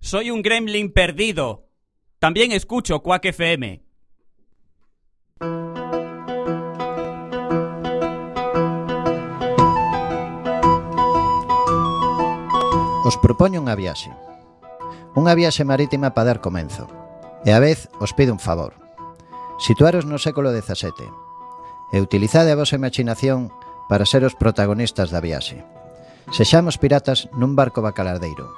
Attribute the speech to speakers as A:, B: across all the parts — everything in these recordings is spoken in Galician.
A: Soy un gremlin perdido. También escucho Quack FM.
B: Os propoño unha viaxe. Unha viaxe marítima para dar comenzo. E a vez os pido un favor. Situaros no século XVII. E utilizade a vosa imaginación para ser os protagonistas da viaxe. Sexamos piratas nun barco bacalardeiro.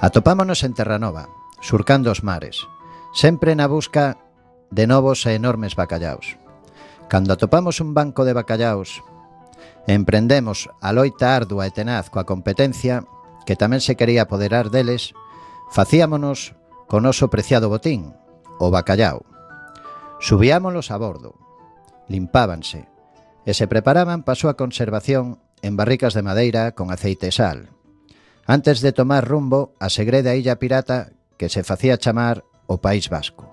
B: Atopámonos en Terranova, surcando os mares, sempre na busca de novos e enormes bacallaos. Cando atopamos un banco de bacallaos, emprendemos a loita ardua e tenaz coa competencia que tamén se quería apoderar deles, facíamonos con noso preciado botín, o bacallao. Subíamolos a bordo, limpábanse e se preparaban para a súa conservación en barricas de madeira con aceite e sal antes de tomar rumbo a segreda illa pirata que se facía chamar o País Vasco.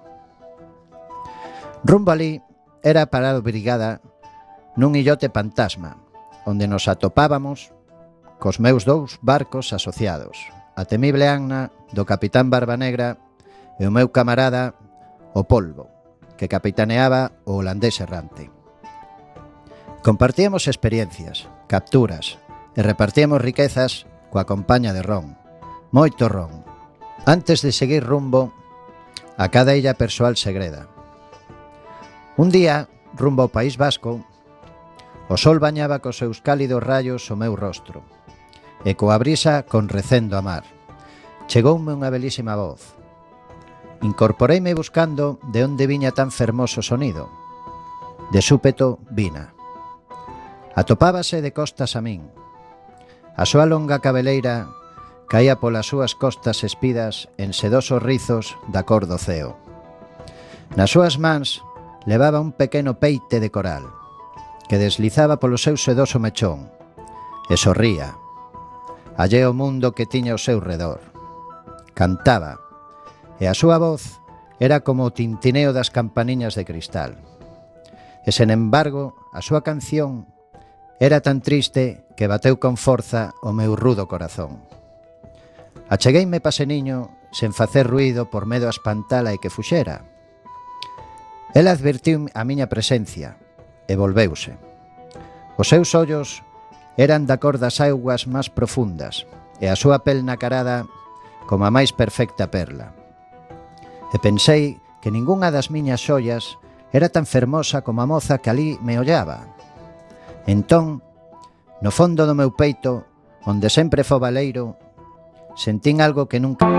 B: Rumbo ali era parado brigada nun illote fantasma, onde nos atopábamos cos meus dous barcos asociados, a temible Anna do capitán Barba Negra e o meu camarada o Polvo, que capitaneaba o holandés errante. Compartíamos experiencias, capturas e repartíamos riquezas coa compaña de ron, moito ron, antes de seguir rumbo a cada illa persoal segreda. Un día, rumbo ao País Vasco, o sol bañaba cos seus cálidos rayos o meu rostro, e coa brisa con recendo a mar. Chegoume unha belísima voz. Incorporeime buscando de onde viña tan fermoso sonido. De súpeto vina. Atopábase de costas a min, A súa longa cabeleira caía polas súas costas espidas en sedosos rizos da cor do ceo. Nas súas mans levaba un pequeno peite de coral que deslizaba polo seu sedoso mechón e sorría. Allé o mundo que tiña ao seu redor. Cantaba e a súa voz era como o tintineo das campaniñas de cristal. E sen embargo, a súa canción Era tan triste que bateu con forza o meu rudo corazón. Achegueime paseniño sen facer ruido por medo a espantala e que fuxera. Ela advertiu a miña presencia e volveuse. Os seus ollos eran da cor das augas máis profundas e a súa pel nacarada como a máis perfecta perla. E pensei que ningunha das miñas xollas era tan fermosa como a moza que ali me ollaba, Entón, no fondo do meu peito, onde sempre fo baleiro, sentín algo que nunca...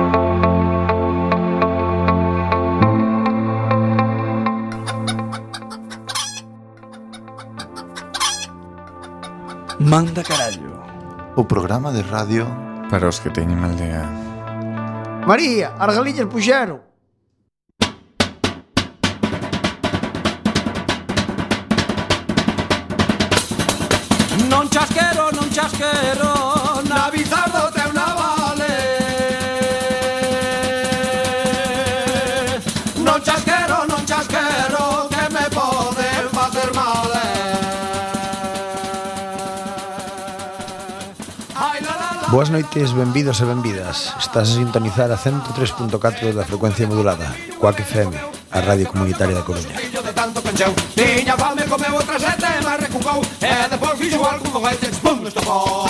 C: Manda carallo.
D: O programa de radio
E: Para os que teñen mal día.
C: María, as galiñas puxeron.
F: Non chasquero, non chasquero Na bizardo te una vale Non chasquero, non chasquero Que me poden facer mal eh. Ai, la, la, la.
G: Boas noites, benvidos e benvidas. Estás a sintonizar a 103.4 da frecuencia modulada, Coac FM, a radio comunitaria da Coruña.
F: fillo de tanto pencheu Tiña fame, comeu outra sete, mas recucou E depois fixo algún foguete, pum, estopou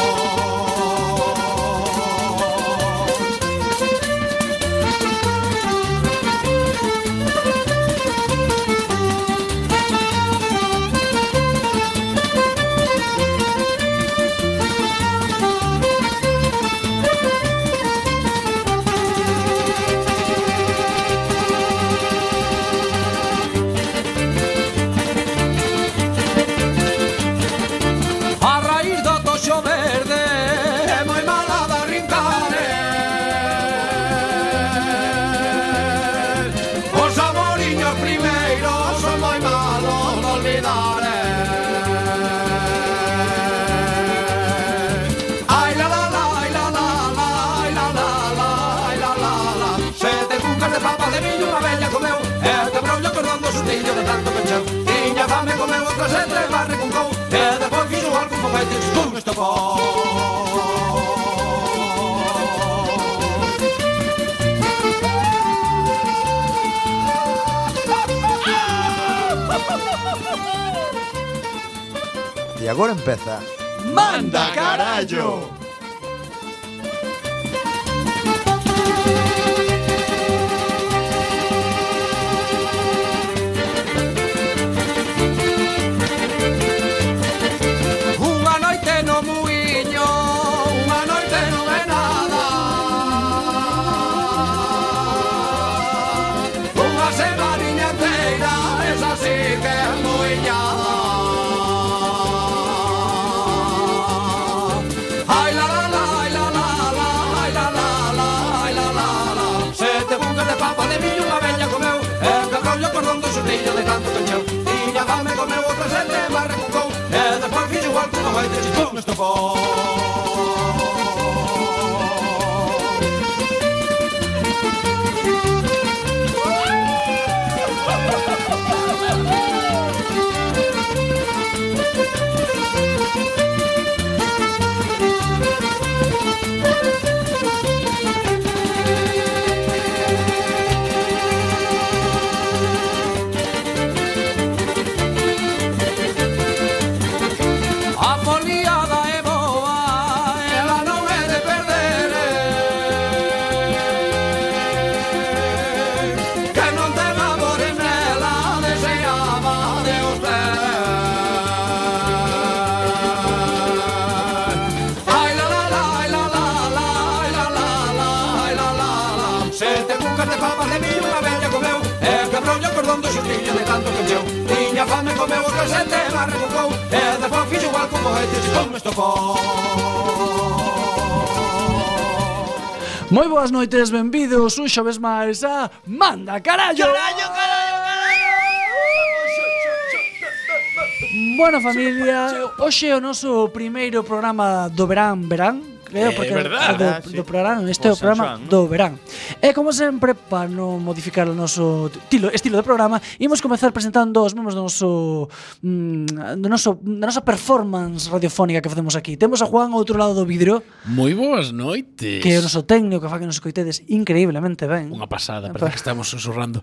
F: A raíz do toxo de eh.
G: E agora empeza
F: Manda carallo Unha noite no muiño Unha noite non é nada Unha semaniña inteira Esa sí que é muiñada Ai la la la, ai la la la, ai la la la, ai la la la. Sete bucas de papa de miño unha abella comeu, e cacollo cordón do xurrillo de tanto que encheu. Tiña fame comeu outra sete, mas recucou, e despois fixo igual que unha baita chichón estopou. A foliada é e boa, ela non é de perder eh. Que non te labores nela, deseaba de usted Ai la la la, ai la la la, ai la la la, ai la la la Sete cucas de papas de millo unha bella comeu E quebrou o cordón do xustillo de tanto que encheu Tiña fame comeu o casete, mas recucou E despois fixo igual como este xipón me estopou
H: Moi boas noites, benvidos un xoves máis a Manda Carallo. Carallo, carallo, carallo. Bueno, familia, hoxe é o noso primeiro programa do verán, verán, creo, porque é verdad, do, do programa, este é o programa do verán. E como sempre, para non modificar o noso tilo, estilo de programa, imos comezar presentando os membros do noso mm, do noso da nosa performance radiofónica que facemos aquí. Temos a Juan ao outro lado do vidro.
I: Moi boas noites.
H: que é o noso técnico que fa que nos coitedes increíblemente ben.
I: Unha pasada, parece que estamos susurrando.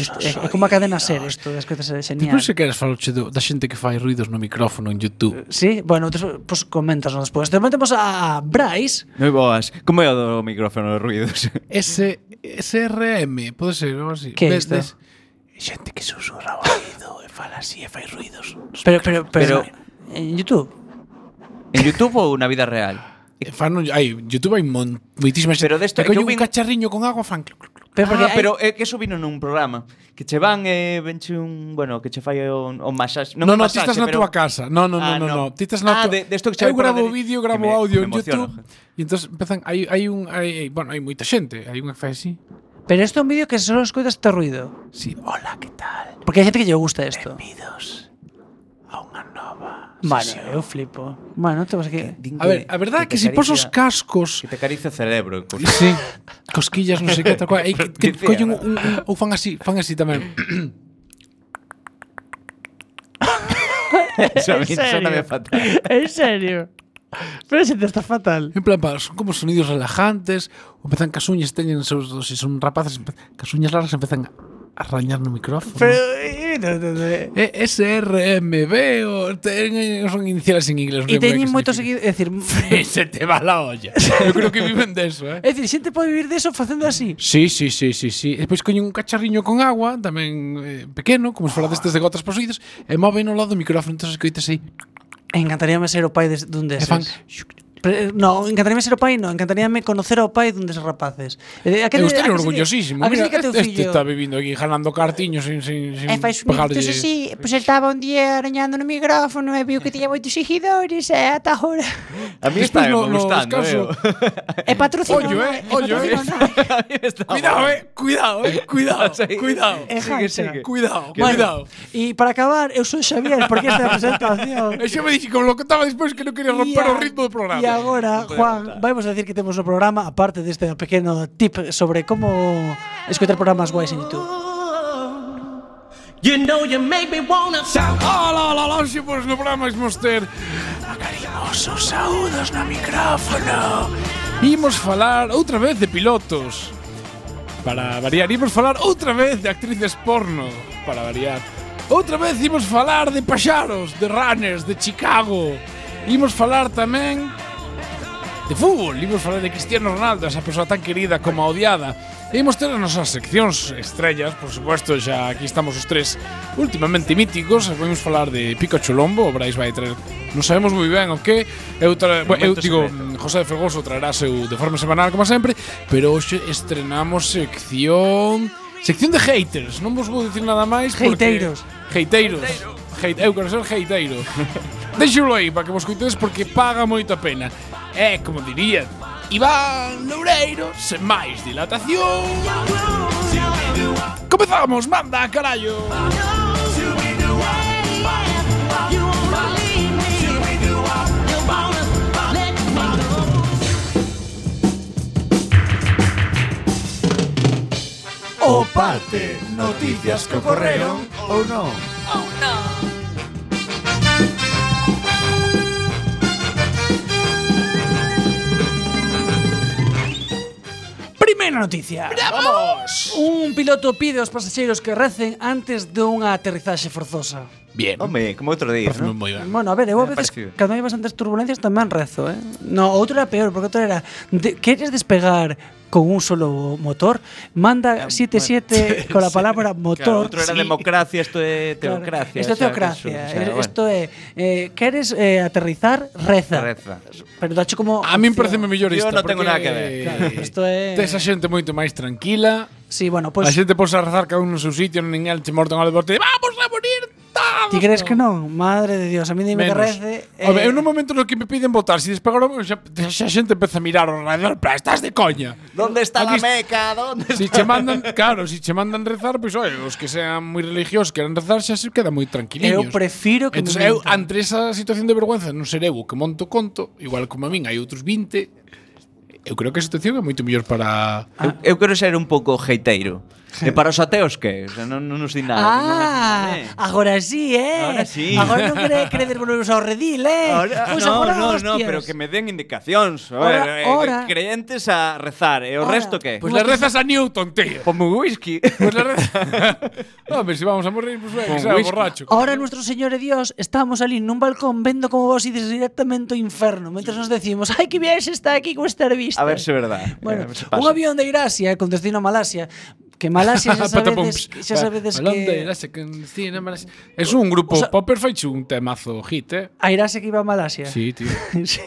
H: Isto é, é como a cadena ser, isto das coitas é
I: Ti
H: genial.
I: pensa que eres faloche do, da xente que fai ruidos no micrófono en YouTube?
H: Sí, bueno, outros, pois pues, comentas despois. Tamén temos a Brais,
J: Moi boas. Como é o do micrófono de ruidos?
I: S SRM, pode ser, non así.
H: Que é isto?
I: Xente que susurra o oído e fala así e fai ruidos.
H: pero, pero, pero,
J: Pero-
H: en YouTube.
J: En YouTube ou na vida real?
I: E Eh, fan un, hai, YouTube hai mon, moitísima xente.
J: Pero desto-
I: Que coño
J: eu
I: un
J: vin-
I: cacharriño con agua fan. cluc, cluc, cluc.
H: Pero porque
J: ah,
H: hai-
J: pero é que eso vino nun programa que che van e eh, venche un, bueno, que che fai un, un masaxe,
I: Non,
J: un
I: non, ti
J: masaxe,
I: estás na
J: pero-
I: túa casa. Non, non,
J: Ah,
I: non, non, no. ti estás na
J: Ah,
I: túa.
J: de, desto que che
I: eu
J: vai por
I: gravo
J: la tele-
I: vídeo,
J: que
I: gravo
J: me-
I: audio
J: que
I: en
J: me emociono.
I: YouTube. E entón empezan, hai, hai un, hai, bueno, hai moita xente, hai unha que fai así.
H: pero isto é un vídeo que só escoitas este ruido.
I: Sí, hola, que tal?
H: Porque hai xente que lle gusta isto.
I: Bienvenidos a unha nova.
H: Bueno, eu flipo. Bueno, temos aquí.
J: Din
I: A ver, a verdade é que se pos os
J: caricia-
I: cascos
J: que te acaricia o cerebro, co-
I: Sí, cosquillas, non sei que tal cual, e que, que
J: Dicía,
I: collen un,
J: ¿no?
I: un, un- ou fan así, fan así tamén.
J: eso a mí
H: ¿En serio?
J: soname fatal.
H: En serio. Pero se te está fatal.
I: En plan, pa, son como sonidos relajantes, ou empezan casuñas, teñen seus, se son rapaces, empe- casuñas largas empezan a rañar no micrófono.
H: Pero eh, no, no, no.
I: E SRMB o teñen son iniciales en inglés.
H: E teñen moito
I: seguido.
H: seguido, é dicir,
I: Se te va la olla. Eu creo que viven deso, eh.
H: é dicir, xente pode vivir deso facendo así.
I: Sí, sí, sí, sí, sí. E Despois coñen un cacharriño con agua, tamén eh, pequeno, como se fora destes de gotas posuídas, e moven ao lado do micrófono, entón escoitas aí.
H: Encantaríame ser o pai des, dun
I: E
H: deses.
I: fan,
H: Pre- No, encantaríame ser o pai, no, encantaríame conocer ao pai dun deses rapaces. Eh,
I: eu
H: aquel-
I: estou
H: aquel sí que-
I: orgullosísimo.
H: aquel
I: Mira,
H: sí que é teu
I: este, este
H: fillo.
I: está vivindo aquí jalando cartiños sin, sin, sin
H: E fai sus minutos así, pois pues, estaba un día arañando no micrófono e viu que tiña moitos seguidores e ata agora.
J: A mí está me gustando, eh.
H: E patrocinado.
I: Ollo, eh, ollo, eh.
J: A mí está
I: Cuidado, eh, cuidado, eh, cuidado,
J: Sí.
I: cuidado.
H: É
J: Sigue,
H: janta.
J: sigue.
I: Cuidado,
J: Bueno.
I: cuidado.
H: E para acabar, eu son Xavier, porque esta é a presentación.
I: E xa me dixi como lo contaba despois que non quería romper
H: E a-
I: o ritmo do programa.
H: E agora, Juan, vamos a decir que temos no programa, aparte deste pequeno tip sobre como escoitar programas guais en YouTube.
I: Hola, hola, hola, hoxe, pois no programa imos ter a Karina Osos saúdos no micrófono. Imos falar outra vez de pilotos. Para variar, imos falar outra vez de actrices porno. Para variar. Outra vez imos falar de paxaros, de runners, de Chicago. Imos falar tamén de fútbol. Imos falar de Cristiano Ronaldo, esa persoa tan querida como a odiada. E imos ter as nosas seccións estrellas, por supuesto, xa aquí estamos os tres últimamente míticos. Vamos falar de Pikachu Lombo, o Brais vai traer non sabemos moi ben o que. Eu, tra... bueno, eu digo, José Fergoso traerá seu de forma semanal, como sempre, pero hoxe estrenamos sección... Sección de haters, non vos vou dicir nada máis porque-
H: Hateiros.
I: Hateiros. Hate, eu quero ser hateiro. Deixoulo aí para que vos coitedes porque paga moito a pena. É, como diría, Iván Loureiro, sen máis dilatación. Comezamos, manda, carallo.
C: O parte, noticias que ocorreron ou non.
H: Primeira noticia. ¡Vamos! Un piloto pide aos pasaxeiros que recen antes dunha aterrizaxe forzosa.
I: Bien.
J: Home, como outro día,
I: Pareceme
J: non?
I: moi ben.
H: Bueno, a ver, eu a
J: Me
H: veces
J: parecido.
H: cando hai bastantes turbulencias tamén rezo, eh. No, outro era peor, porque outro era de, queres despegar con un solo motor, manda 77 con la palabra motor.
J: outro
H: Sí.
J: era democracia, isto é
H: Claro,
J: teocracia.
H: Isto é
J: xa,
H: teocracia.
J: que
H: eh,
J: xurdo, xa,
H: Isto é eh, queres eh, aterrizar, reza.
J: bueno. Reza.
H: Pero dacho como
I: A min
H: opción.
I: pareceme mellor
J: Yo
I: isto.
J: non tengo
I: porque-
J: nada que ver.
H: Claro, isto é-
I: Tes a xente moito máis tranquila.
H: Sí, bueno,
I: Pues, a
H: pois pues,
I: xente pose a rezar cada un no seu sitio, nin el che morten ao deporte. Vamos a morir todos.
H: ti crees que non? Madre de Dios, a mí dime que
I: Menos.
H: rece. eh,
I: A ver, eu no momento no que me piden votar, se despegaron, xa, xa a xente empeza a mirar ao redor, pra, estás de coña.
J: ¿Dónde está
I: Aquí
J: la
I: est-
J: meca? ¿Dónde está?
I: Si che mandan, claro, si che mandan rezar, pois pues, os que sean moi religiosos queran rezar, xa se queda moi tranquiliños.
H: Eu prefiro que me
I: Entonces, eh, eu,
H: mintan.
I: ante esa situación de vergüenza, non ser eu o que monto conto, igual como a min hai outros 20, eu creo que a situación é moito mellor para...
J: Eu,
H: Ah.
J: eu quero ser un pouco heiteiro. e para os ateos que? O sea, non, non nos di
H: Ah,
J: nada. non nos di nada.
H: agora sí, eh.
J: Agora sí.
H: Agora non quere queredes volvervos ao redil, eh.
J: Ahora,
H: Pois
J: no,
H: agora
J: no,
H: hostias.
J: no, pero que me den indicacións. A
H: Ora,
J: ver, eh,
H: ora.
J: creyentes a rezar. E o
H: Ora.
J: resto que?
I: Pois pues le rezas a Newton, tío.
J: Ponme un whisky.
I: Pois pues le rezas... Home, se vamos a morrer, pois pues, que
J: Con
I: sea
J: whisky.
I: borracho.
H: Ahora nuestro Señor e Dios estamos ali nun balcón vendo como vos ides directamente ao inferno Mentres nos decimos, ai que viaxe está aquí con estar vista
J: A ver se é verdade.
H: Bueno,
J: Eh, se
H: un
J: pasa.
H: avión de Irasia eh, con destino a Malasia Que Malasia xa sabedes, xa sabedes que Mm.
I: Es un grupo
H: O sea-
I: popper faichu un temazo hit, eh?
H: a Irasia que iba a Malasia
I: Sí, tío.
H: sí.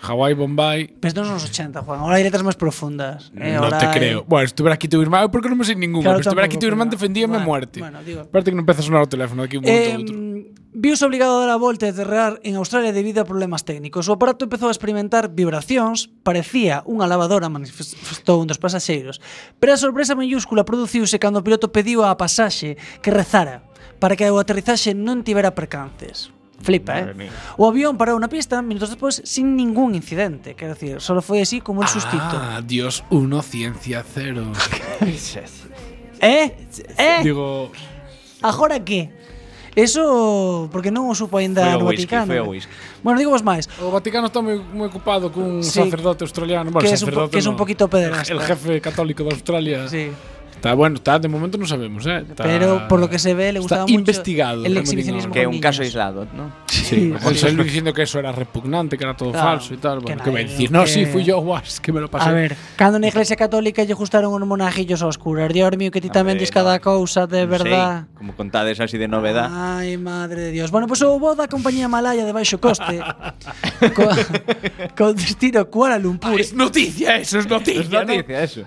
I: Hawái, Bombay.
H: Pero estos son los 80, Juan. Ahora hay letras más profundas. Eh,
I: no
H: ahora
I: te
H: hay-
I: creo. Bueno, estuviera aquí tu irmán, porque no me sé ninguno.
H: Claro,
I: pero estuviera aquí
H: tampoco,
I: tu irmán,
H: pero-
I: defendíame a
H: bueno,
I: muerte.
H: bueno, digo-
I: Espérate que no empieza a sonar el teléfono de aquí un momento a
H: Eh,
I: otro.
H: viuse obligado a dar a volta e aterrar en Australia debido a problemas técnicos. O aparato empezou a experimentar vibracións, parecía unha lavadora, manifestou un dos pasaxeiros. Pero a sorpresa mayúscula produciuse cando o piloto pediu á pasaxe que rezara para que o aterrizaxe non tivera percances. Flipa, eh? O avión parou na pista minutos despois sin ningún incidente. Quero dicir, solo foi así como un sustito.
I: Ah, Dios uno, ciencia cero.
H: Eh? Eh?
I: Digo,
H: Agora que? Eso porque non o supo
J: Foi
H: aínda
J: o
H: no
J: whisky,
H: Vaticano. eh,
J: foi o whisky.
H: Bueno, digo vos máis.
I: o Vaticano está muy, muy ocupado con un
H: Sí,
I: sacerdote australiano. Bueno,
H: que es un po-
I: sacerdote
H: que es un
I: no.
H: poquito pederasta.
I: El jefe católico de Australia.
H: Sí.
I: Está bueno, está, de momento no sabemos, ¿eh? Está-
H: Pero por lo que se ve
I: está
H: le gustaba mucho
I: investigado,
H: el
I: como digo.
H: exhibicionismo.
J: Que é
H: con
J: un caso
H: niños.
J: aislado, ¿no?
I: Sí,
H: Sí,
I: el
H: sí.
I: Luis diciendo que eso era repugnante, que era todo
H: Claro,
I: falso y tal.
H: que
I: Bueno,
H: nadie
I: ¿qué va a decir?
H: lo
I: No,
H: que-
I: sí, fui yo, guau, es que me lo pasé.
H: A ver, cando na Iglesia Católica lle gustaron os monajillos aos curas, Dios mío, que ti tamén
J: Hombre,
H: dis cada
J: eh, no.
H: cousa de
J: Non sei,
H: verdad. Ah.
J: como contades así de novedad.
H: Ai, madre de Dios. Bueno, pois pues, houve da compañía malaya de baixo coste co, con destino a Kuala Lumpur.
I: Es noticia eso, es noticia.
J: Es noticia, eso.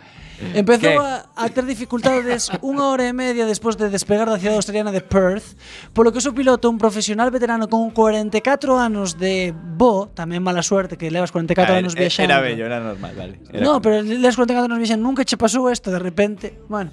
H: Empezou
J: Que-
H: a, a ter dificultades unha hora e media despois de despegar da cidade australiana de Perth, polo que o seu piloto, un profesional veterano con 44 anos de bo, tamén mala suerte que levas 44
J: Ah,
H: anos
J: era-
H: viaxando.
J: Era bello, era normal, vale. Era
H: No,
J: normal.
H: pero les cuento que non vixen nunca che pasou isto de repente. Bueno,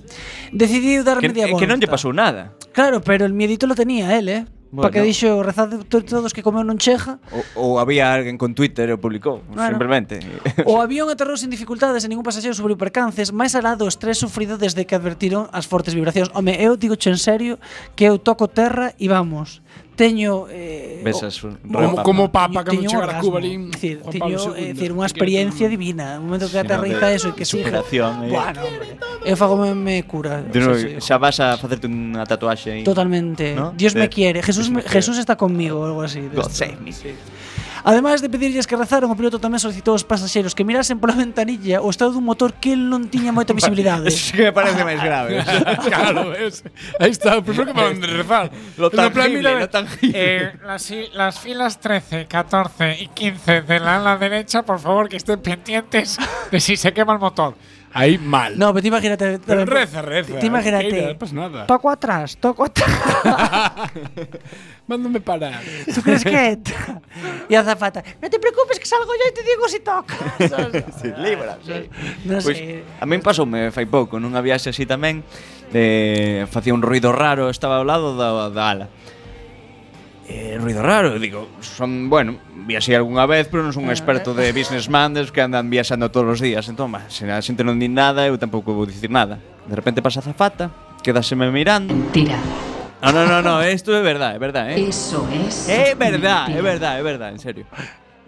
H: decidiu dar
J: que,
H: media
J: eh,
H: volta.
J: que non lle pasou nada.
H: Claro, pero el miedito lo tenía él, eh.
J: Bueno.
H: Pa que dixo rezad to- todos que comeu non cheja.
J: O, o había alguén con Twitter e o publicou,
H: Bueno.
J: simplemente.
H: O avión aterrou sin dificultades e ningún pasaxeiro sufriu percances, máis alá do estrés sufrido desde que advertiron as fortes vibracións. Home, eu digo en serio que eu toco terra e vamos. teño eh,
J: Ves as
H: o-
J: Como-
H: o-
I: como papa cando
H: teño
I: chegar a
H: orgasmo.
I: Cuba, alí,
H: Es decir,
I: Juan Pablo
H: teño,
I: II,
H: é dicir, unha
I: que quero
H: experiencia
I: un-
H: divina, o momento que
J: Sí, no,
H: aterriza
J: de-
H: eso e que
J: de
H: siga.
J: superación, eh.
H: Bueno, hombre. Eu fago me, me cura.
J: De
H: o
J: novo,
H: sea, sí.
J: xa vas a facerte unha tatuaxe aí.
H: Totalmente.
J: ¿No?
H: Dios me
J: De-
H: quiere. Jesús, me-
J: Dios me quiere.
H: Jesús está conmigo o algo así. de
J: God
H: esto.
J: save me.
H: Ademais de pedirlles que rezaran, o piloto tamén solicitou aos pasaxeiros que mirasen pola ventanilla o estado dun motor que el non tiña moita visibilidade.
J: Eso sí que me parece máis grave.
I: claro, es, ahí está, o primero que me van a rezar. En
J: Lo
I: plan,
J: tangible,
I: mira,
J: lo tangible.
I: eh, las, i- las filas 13, 14 y 15 del ala derecha, por favor, que estén pendientes de si se quema el motor. Ahí mal.
H: No, pero te imagínate.
I: Pero pues,
H: tamén-
I: reza, reza.
H: Te
I: Keira,
H: imagínate.
I: No pasa nada.
H: Toco atrás, toco atrás.
I: Mándame parar.
H: ¿Tú crees que entra? Y azafata. No te preocupes que salgo yo y te digo si toca.
J: Sí, libra, sí. Pues
H: No
J: Pois,
H: sé.
J: a min pasoume fai pouco nunha viaxe así tamén eh, facía un ruido raro, estaba ao lado da, da ala. Eh, ruido raro, digo, son, bueno, viaxei algunha vez, pero non son un experto de businessman des que andan viaxando todos os días. Entón, bah, se a xente non di nada, eu tampouco vou dicir nada. De repente pasa a zafata, quedáseme mirando.
K: Mentira.
J: No, no, no, no, isto é verdade, é verdade, eh.
K: Eso es.
J: É verdade,
K: mentira.
J: é verdade, é verdade, en serio.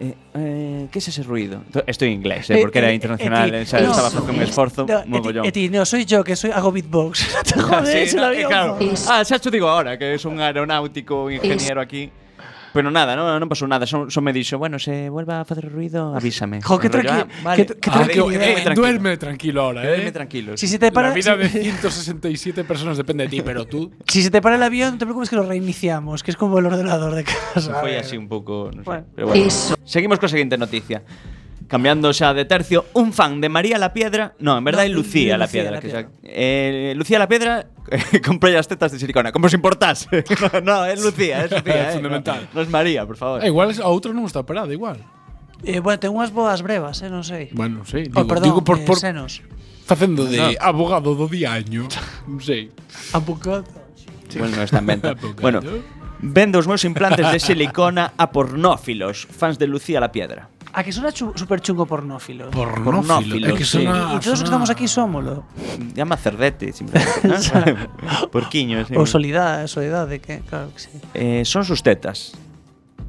J: Eh, eh, que es ese ruido? Estou en inglés, eh, porque era internacional, eh, xa estaba facendo un esforzo
H: no,
J: mogollón. Ah,
H: Eti, eti, no, soy yo que soy, hago beatbox. Te joder, se lo había
J: claro.
H: olvidado.
K: Es-
J: Ah, xa cho digo ahora, que es un aeronáutico ingeniero aquí. Pero nada, no, non pasou nada, só, só me dixo, bueno, se vuelva a facer ruido, avísame.
H: Jo, que
J: En rollo,
H: tranqui-
J: ah, vale.
H: que- que
J: Ah,
H: tranquilidad.
J: digo, quédame
H: Eh,
J: tranquilo.
I: Duerme tranquilo ahora,
J: Quédame
I: eh.
J: tranquilo.
H: Si se te para.
I: La vida de
H: si-
I: 167 personas depende de ti, pero tú.
H: Si se te para el avión, no te preocupes que lo reiniciamos, que es como el ordenador de casa.
J: Foi así un pouco, non sei,
H: Bueno.
J: pero bueno.
K: Eso.
J: Seguimos coa seguinte noticia. Cambiando xa de tercio, un fan de María la Piedra, no, en
H: No,
J: verdade é
H: de
J: Lucía la
H: Lucía
J: Piedra,
H: la
J: que
H: Piedra.
J: xa, eh, Lucía la Piedra eh, comprou as tetas de silicona, como se importase. no, no, é Lucía, é Lucía, eh.
I: Fundamental.
J: No, no es María, por favor.
I: Ah, igual es- a otro no está operado, igual.
H: Eh, bueno, tengo unas bodas brevas, eh, no sé.
I: Bueno, sí.
H: Oh, perdón,
I: digo por,
H: eh,
I: por
H: senos.
I: facendo de
J: No.
I: abogado do diaño. Non sei.
H: Abogado.
J: Bueno, non está en venta.
I: Abogado.
J: bueno, vendo os meus implantes de silicona a pornófilos, fans de Lucía la Piedra.
H: A Ah, que suena chu- súper chungo pornófilo.
J: Pornófilo,
I: É que
J: sí.
I: sona,
H: y todos los que estamos aquí somoslo.
J: Llama cerdete, simplemente. ¿no? Porquiño, sí.
H: O soledad, soledad de que, claro que sí.
J: Eh, son sus tetas.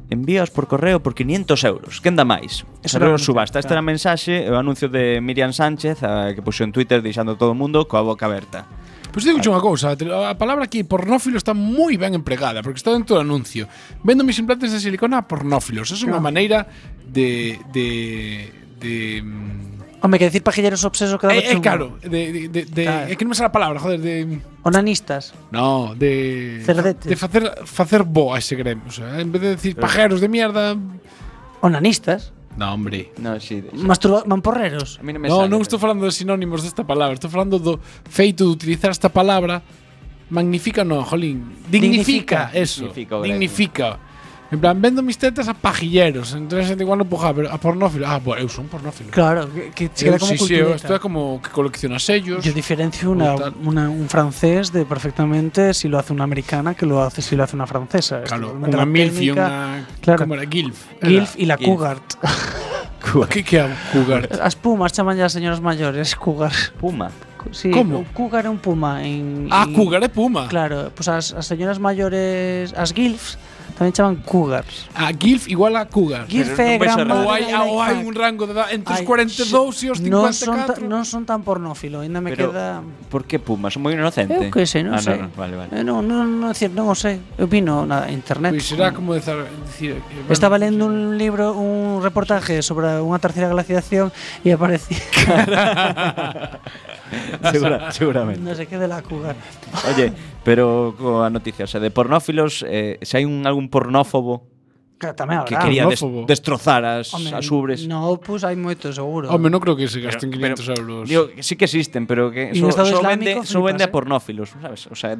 J: Envíaos por correo por 500 euros. Que anda máis?
H: Eso era
J: Cerrou
H: bonito,
J: subasta. Este
H: claro.
J: era o mensaxe, o anuncio de Miriam Sánchez a, que puxo en Twitter deixando todo o mundo coa boca aberta.
I: Pois Pues digo unha cousa, te- a palabra aquí pornófilo está moi ben empregada, porque está dentro do anuncio. Vendo mis implantes de silicona a pornófilos. Esa É unha maneira de de de mm,
H: Hombre, que decir pajilleros obsesos quedaba
I: É, é Eh,
H: chungo.
I: claro, de, de, de, de
H: Claro.
I: é que non me sale a palabra, joder, de
H: Onanistas.
I: no, de
H: Cerdetes.
I: de facer facer boa ese gremio, o sea, en vez de
J: Eh.
I: decir pajeros de mierda,
H: Onanistas.
I: no, hombre.
J: No, sí. de-
H: Masturba mamporreros.
J: A mí non me
I: No,
J: sale,
I: non
J: pero-
I: estou falando de sinónimos desta palabra, estou falando do feito de utilizar esta palabra magnifica no, jolín, dignifica,
H: Dignifica.
I: eso,
J: Dignifica o gremio.
I: dignifica. En plan, vendo mis tetas a pajilleros, entonces xente igual non puja, pero a pornófilo, ah, bueno, eu son pornófilo.
H: Claro, que, que se
I: Eu,
H: queda como
I: sí, sí, eu,
H: cultureta.
I: isto é como que colecciona sellos.
H: Yo diferencio una,
I: O tal.
H: una- un francés de perfectamente si lo hace una americana que lo hace si lo hace una francesa. Esto
I: Claro, unha
H: realmente la
I: milf e
H: técnica-
I: unha
H: Claro.
I: como era gilf.
H: Gilf y la
J: Gilf.
H: Cougart.
I: Que que é un cougar?
H: As pumas chaman ya señoras mayores, Cougar.
J: Puma.
H: Sí,
I: Como?
H: o Cougar é un puma en
I: ah,
H: en-
I: cougar é puma.
H: Claro, pues as, as señoras maiores, as gilfs, tamén chaman cougars.
I: A gilf igual a cougar.
H: Gilf
J: non
H: é
J: vais
H: gran
J: a Pero
I: Ou
H: madre
I: hai,
H: de like
I: ou hai
H: fuck.
I: un rango de edad entre os
H: Ai,
I: 42 e os 54.
H: xe, Non son, ta, non son tan pornófilo, ainda me
J: Pero-
H: queda...
J: Por que Puma? Son moi inocente.
H: Eu que sei, non
J: ah,
H: sei.
J: No, no, vale, vale.
H: Eh, non, non, non, decir, non o sei. Eu vino na internet.
I: Pois será como dezar- dicir, que, eh, bueno,
H: Estaba lendo un libro, un reportaje sobre unha terceira glaciación e aparecía,
J: Segura, seguramente.
H: non sei que de la cougar.
J: Oye, pero coa noticia, o sea, de pornófilos, eh, se hai un algún pornófobo
H: Claro, tamén
J: que
H: habrá.
J: quería des
I: Ah, pornófobo.
J: destrozar as,
H: Home,
J: as ubres.
H: No, pues hai moito seguro.
I: Home, non creo que se gasten
J: Pero-
I: 500 euros.
J: Digo, que sí que existen, pero que
H: Y en
J: só
H: Estado
J: só
H: Islámico
J: vende, só
H: flipas,
J: vende
H: eh.
J: a pornófilos, sabes? O sea,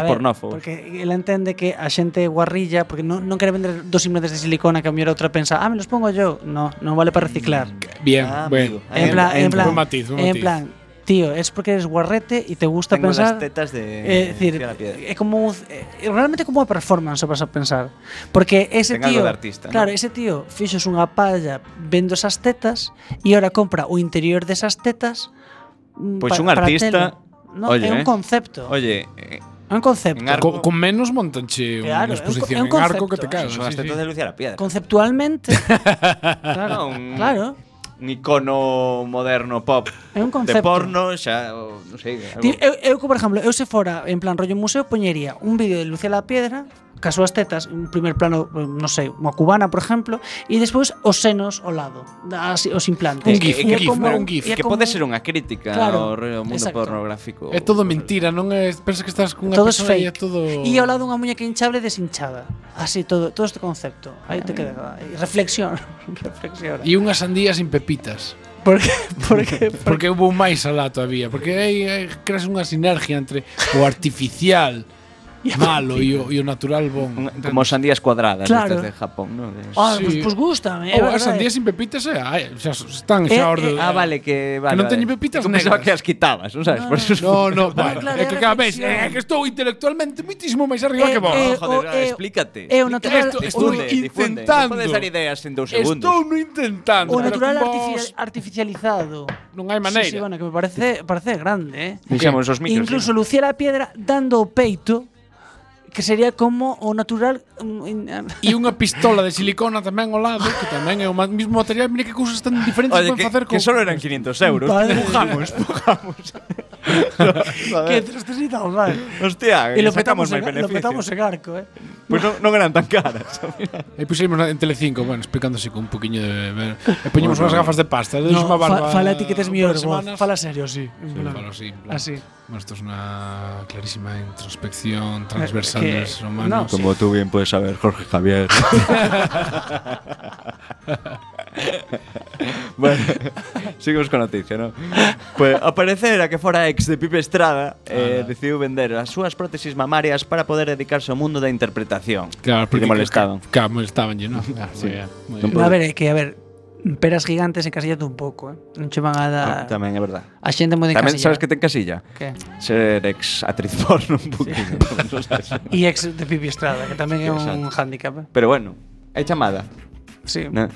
H: A
J: os
H: ver,
J: pornófobos.
H: Porque ela entende que a xente guarrilla, porque non, non quere vender dos implantes de silicona que a mellor outra pensa, ah, me los pongo yo. No, non vale para reciclar.
I: Bien,
J: Ah,
I: bueno.
J: amigo.
H: en plan, en plan,
I: Un matiz, un matiz.
H: en plan, tío, es porque eres guarrete y te gusta
J: Tengo
H: pensar. eh,
J: las tetas de
H: É dicir,
J: Lucía la Piedra.
H: é como un- é realmente como unha performance vas a pensar, porque ese
J: Ten algo
H: tío,
J: de artista,
H: claro,
J: ¿no?
H: ese tío fixos unha palla vendo esas tetas e ahora compra o interior desas tetas. mm,
J: Pois un
H: para
J: artista,
H: telo. No,
J: oye,
H: é un
J: eh.
H: concepto.
J: Oye, eh,
H: É un concepto.
J: En
I: Co-
J: arco.
I: con menos montonche
H: Claro,
I: unha
H: é un co-
I: exposición
H: é
I: en
H: un
I: arco que
H: concepto,
I: te
H: eh.
I: cagas.
J: Son las
I: sí, sí.
J: tetas de Lucía la Piedra.
H: Conceptualmente.
J: No,
H: claro.
J: un-
H: claro.
J: un icono moderno pop.
H: É un
J: De
H: concepto.
J: porno, xa, o, non sei, algo.
H: Ti- Eu, eu, por exemplo, eu se fora en plan rollo museo poñería un vídeo de Lucía la Piedra cas súas tetas, un primer plano, eh, non sei, unha cubana, por exemplo, e despois os senos ao lado, as, os
I: Un
H: implantes.
I: gif, un
H: E é
I: gif, pero un gif,
H: e é
J: que
H: como-
J: pode ser unha crítica
H: Claro,
J: ao re- ao mundo
H: exacto.
J: pornográfico.
I: É todo mentira, non é, pensas que estás cunha
H: Todo es
I: persona e é
H: fake.
I: todo
H: E ao lado unha muñeca hinchable deshinchada. Así todo, todo este concepto. Aí te queda, aí, reflexión, reflexión.
I: E unha sandía sin pepitas.
H: Por que, por que, por que?
I: Porque houve máis alá todavía, porque aí aí creas unha sinergia entre o artificial malo e o, e o natural bon.
J: Un- Como sandías cuadradas
H: Claro.
J: estas de Japón, non? De-
H: Ah,
I: Sí.
H: pois pues, gústame, é
I: Ou as
H: verdade.
I: sandías Oh, sin pepitas eh, ai, xa están xa
H: Eh,
I: orde.
H: eh,
J: Ah, vale, que vale.
I: Que non
J: vale.
I: teñen pepitas
J: Eu pensaba
I: negras.
J: que as quitabas, non sabes? Por eso es-
I: No, no, bueno,
H: claro,
I: é que
H: é
I: cada vez é
H: reflexión.
I: que estou intelectualmente muitísimo máis arriba
H: Eh,
I: que vos.
H: eh,
J: Joder,
H: o- eh,
J: explícate.
H: É o natural,
I: Esto- esto-
H: o-
J: Difunde,
I: Estoy
J: difunde.
I: intentando.
J: Non podes dar ideas en dous segundos.
I: Estou no intentando.
H: o
I: pero
H: natural
I: con vos
H: artifici- artificializado.
I: Non hai
H: Sí, sí,
I: maneira.
H: bueno, que me parece, parece grande, eh.
J: Fixamos os micros.
H: Incluso Lucía la Piedra dando o peito, que sería como o natural... mm, in-
I: E unha pistola de silicona tamén ao lado, que tamén é o ma- mismo material, mira que cousas tan diferentes
J: Oye,
I: Oye,
J: que,
I: poden facer
J: que
I: con
J: solo eran 500 euros.
H: Padre.
J: Pujamos, pujamos.
H: que tristecita, vale.
J: Hostia,
H: E lo petamos,
J: sacamos máis
H: en, lo
J: beneficio.
H: petamos en arco, eh.
J: Pois non, non eran tan caras.
I: E puxemos na- en Telecinco, bueno, explicándose con un poquinho de... ver- E poñemos unhas gafas de pasta, dedes unha barba...
H: fa- fala ti que tes
I: un
H: mellor
I: par de
H: voz.
I: semanas.
H: Fala serio, sí. En
I: Sí,
H: plan,
I: falo así, en plan.
H: Así.
I: Bueno, esto es una clarísima introspección transversal
H: Eh, que-
I: del ser humano.
H: no, Como
J: tú bien puedes saber, Jorge Javier. bueno, seguimos con noticia, ¿no? Pues ao parecer a que fora ex de Pipe Estrada eh, decidiu vender as súas prótesis mamarias para poder dedicarse ao mundo da interpretación. E
I: Claro,
J: porque
I: porque
J: lle molestaban.
I: Claro, molestaban, ¿no? Ah, muy bien, muy bien.
J: Pero-
H: A ver, é que, a ver, peras gigantes encasillate un pouco, eh. Non che van a dar...
J: Ah, tamén é verdad.
H: A xente moi de
J: Tamén sabes que ten casilla
H: Que?
J: ser ex actriz porno un poquito.
H: E ex de Pipi Estrada, que tamén é un
J: Exacto.
H: handicap. eh.
J: Pero bueno, é chamada.
H: Sí.
J: ¿no?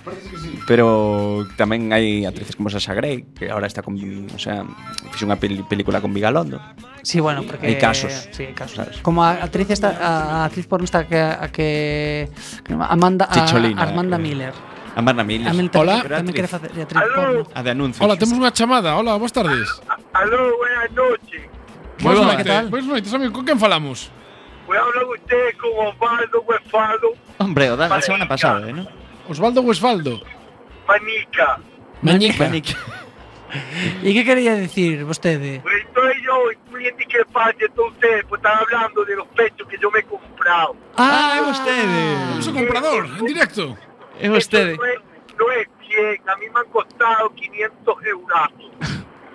J: Pero tamén hai actrices como Sasha Grey, que ahora está con, o sea, fixo unha peli- película con Vigalondo.
H: Sí, bueno, porque
J: Hay casos.
H: Sí, hay casos.
J: ¿Sabes?
H: Como a actriz esta, a actriz porno esta que a que que Amanda a-
J: Chicholina,
H: Armanda
J: eh.
H: Miller.
J: A Marna Miles.
H: También tamén,
I: Hola.
H: tamén quere facer de actriz porno.
J: A de anuncios.
I: Hola, tenemos una chamada. Hola, buenas tardes.
K: Aló, buenas noches.
I: Buenas
H: Hola,
I: noites.
H: ¿qué tal?
I: Buenas noites, amigo. ¿Con quién falamos?
K: Voy a hablar con Pues ustedes con Osvaldo pues, Westfaldo
J: Hombre, o da la
K: Vale.
J: semana pasada, ¿eh? ¿no?
I: Osvaldo Westfaldo.
K: Manica.
I: Mañica.
J: Manic.
H: E que quería decir vostede?
K: Pues Estoy yo, muy etiquetado todos ustedes, pues están hablando de los pechos que yo me he comprado.
J: Ah, é vostede.
I: Tenemos un comprador en directo.
J: Es usted.
K: Eso No es, no es bien, a mí me han costado 500 euros.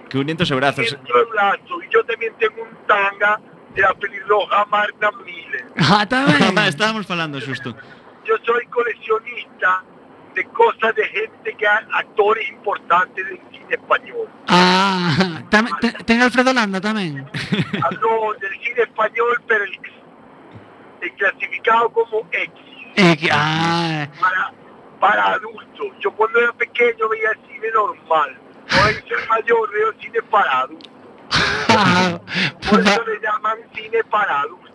J: 500 brazos.
K: 500 euros. Y yo también tengo un tanga de la pelirroja Marta Miller.
H: Ah,
J: Mamá,
H: tamén.
J: estábamos falando justo.
K: Yo soy coleccionista de cosas de gente que a- actores importantes del cine español.
H: Ah, tamén te- ten Alfredo Landa tamén.
K: Habló del cine español, pero el, el clasificado como X,
H: Eh, que, ah,
K: para, para adultos. Yo cuando era pequeño veía el cine normal. Ahora yo soy mayor, veo cine para adultos.
H: ah.
K: Por eso le llaman cine para adultos.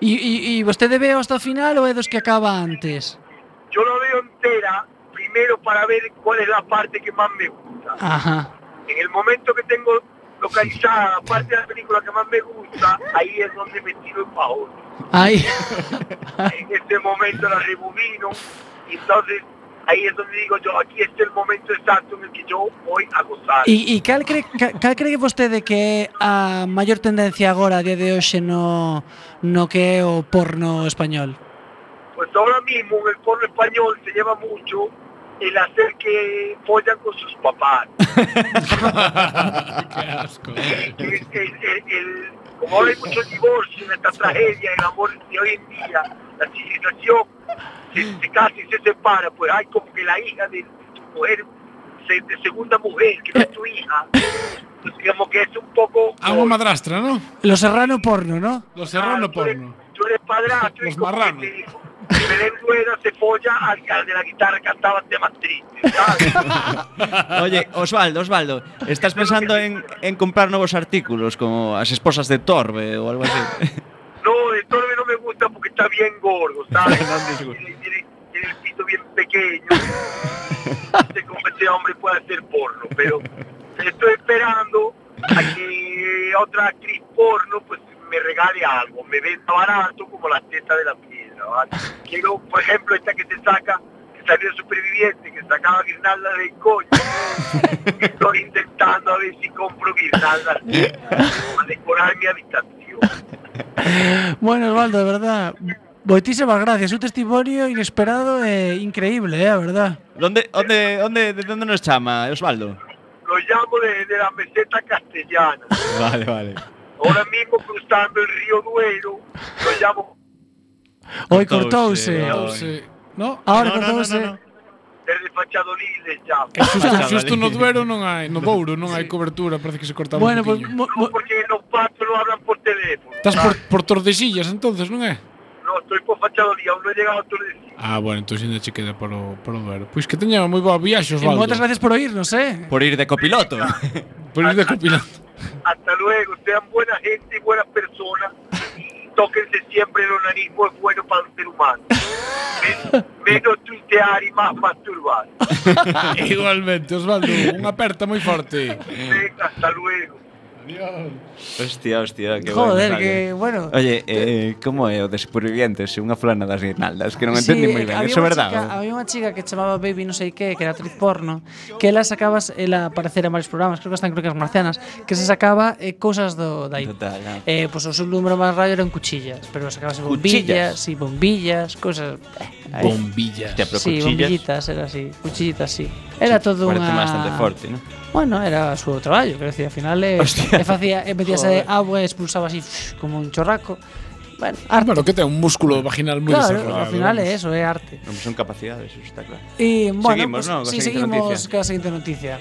H: E e e vostede ve hasta o final ou é dos que acaba antes?
K: Yo lo veo entera, primero para ver cuál es la parte que más me gusta.
H: Ajá.
K: En el momento que tengo localizada la parte de la película que más me gusta, ahí es donde me tiro el pajón.
H: Aí.
K: en este momento la rebobino y entonces ahí es donde digo yo aquí es el momento exacto en el que yo voy a gozar
H: E, e cal, cre, ca- cal cree vostede que é a maior tendencia agora a día de hoxe no, no que é o porno español?
K: pues ahora mismo en el porno español se lleva mucho el hacer que follan con sus papás
I: Qué asco.
K: El- el- el- el- como ahora hay mucho divorcio en esta tragedia el amor de hoy en día la civilización se, se casa y se separa pues hay como que la hija de tu mujer se- de segunda mujer que no es tu hija pues digamos que es un poco
I: A unha madrastra, ¿no?
H: Lo serrano porno, ¿no?
I: Los
K: Ah,
I: serrano
K: tú eres-
I: porno.
K: Tú eres padrastro.
I: Los
K: y como
I: marranos.
K: que te- Belén Rueda se folla al, al de la guitarra que cantaba temas tristes, ¿sabes?
J: Oye, Osvaldo, Osvaldo, ¿estás pensando en, en comprar nuevos artículos como las esposas de Torbe o algo así?
K: No, el torbe no me gusta porque está bien gordo, ¿sabes? tiene, tiene- tiene el pito bien pequeño. No sé cómo ese hombre puede hacer porno, pero estoy esperando a que otra actriz porno pues me regale algo, me venda barato como la teta de la piedra, ¿vale? Quiero, por ejemplo, esta que se saca, que salió de superviviente, que sacaba guirnalda del coño. Estoy intentando a ver si compro guirnaldas para decorar mi habitación.
H: Bueno, Osvaldo, de verdad, moitísimas gracias. Un testimonio inesperado e increíble, eh, a verdad.
J: ¿Dónde, dónde, dónde, ¿De dónde nos llama, Osvaldo?
K: Lo llamo desde la meseta castellana.
J: Vale, vale.
K: Ahora mismo cruzando el río Duero, lo llamo
H: Oi, cortouse.
I: Cortouse. No?
H: Ahora
I: No, no,
H: cortouse.
I: no, no, no.
K: desde Fachadolí, le llamo.
I: Que susto, susto no duero non hai, no Bouro non hai cobertura, parece que se cortaba
H: Bueno,
I: bueno,
H: pues, ah.
I: un poquinho.
H: mo- mo-
I: Estás por, por Tordesillas entonces, non é?
K: No, estoy por Fachadolí, aún no he llegado a Tordesillas.
I: Ah, bueno, entón ainda che queda polo, polo duero. Pois que teña moi boa viaxe,
H: e
I: Osvaldo.
H: moitas gracias por oírnos, eh.
J: Por ir de copiloto.
I: Por ir de copiloto.
K: Hasta luego, sean buena gente y buenas personas. Y tóquense siempre el organismo es bueno para el ser humano. Men- menos tuitear y más masturbar.
I: Igualmente, Osvaldo, unha aperta moi forte.
K: Venga, hasta luego.
J: Hostia, hostia, que
H: Joder,
J: bueno,
H: que bueno.
J: Oye, eh, como é o de supervivientes? Unha fulana das guirnaldas, que non
H: Sí,
J: entendi moi ben,
H: había
J: eso é
H: unha
J: verdade.
H: chica- Había unha chica que chamaba Baby non sei que, que era actriz porno, que ela sacabas, ela aparecer en varios programas, creo que están Crocas Marcianas, que se sacaba eh, cousas do dai.
J: Total, ah.
H: Eh, pois o seu número máis raro eran cuchillas, pero sacabas bombillas,
J: Cuchillas?
H: si bombillas, cousas. eh, ahí.
I: Bombillas.
J: Hostia, pero
H: Sí,
J: cuchillas
H: bombillitas, era así, cuchillitas, sí. Era todo
J: parece
H: unha
J: bastante forte, non?
H: Bueno, era o seu traballo, quero dicir, ao final eh, eh,
J: Hostia.
H: facía, eh, metíase agua e expulsaba así como un chorraco. Bueno, arte.
I: Bueno, que ten un músculo vaginal moi
H: Claro,
I: desarrollado. eh.
H: ao final é
I: vamos.
H: eso, é arte.
J: Non son capacidades, eso está claro.
H: Y bueno,
J: Seguimos,
H: pues,
J: ¿no? Con la
H: sí,
J: siguiente
H: seguimos
J: noticia.
H: con la siguiente noticia.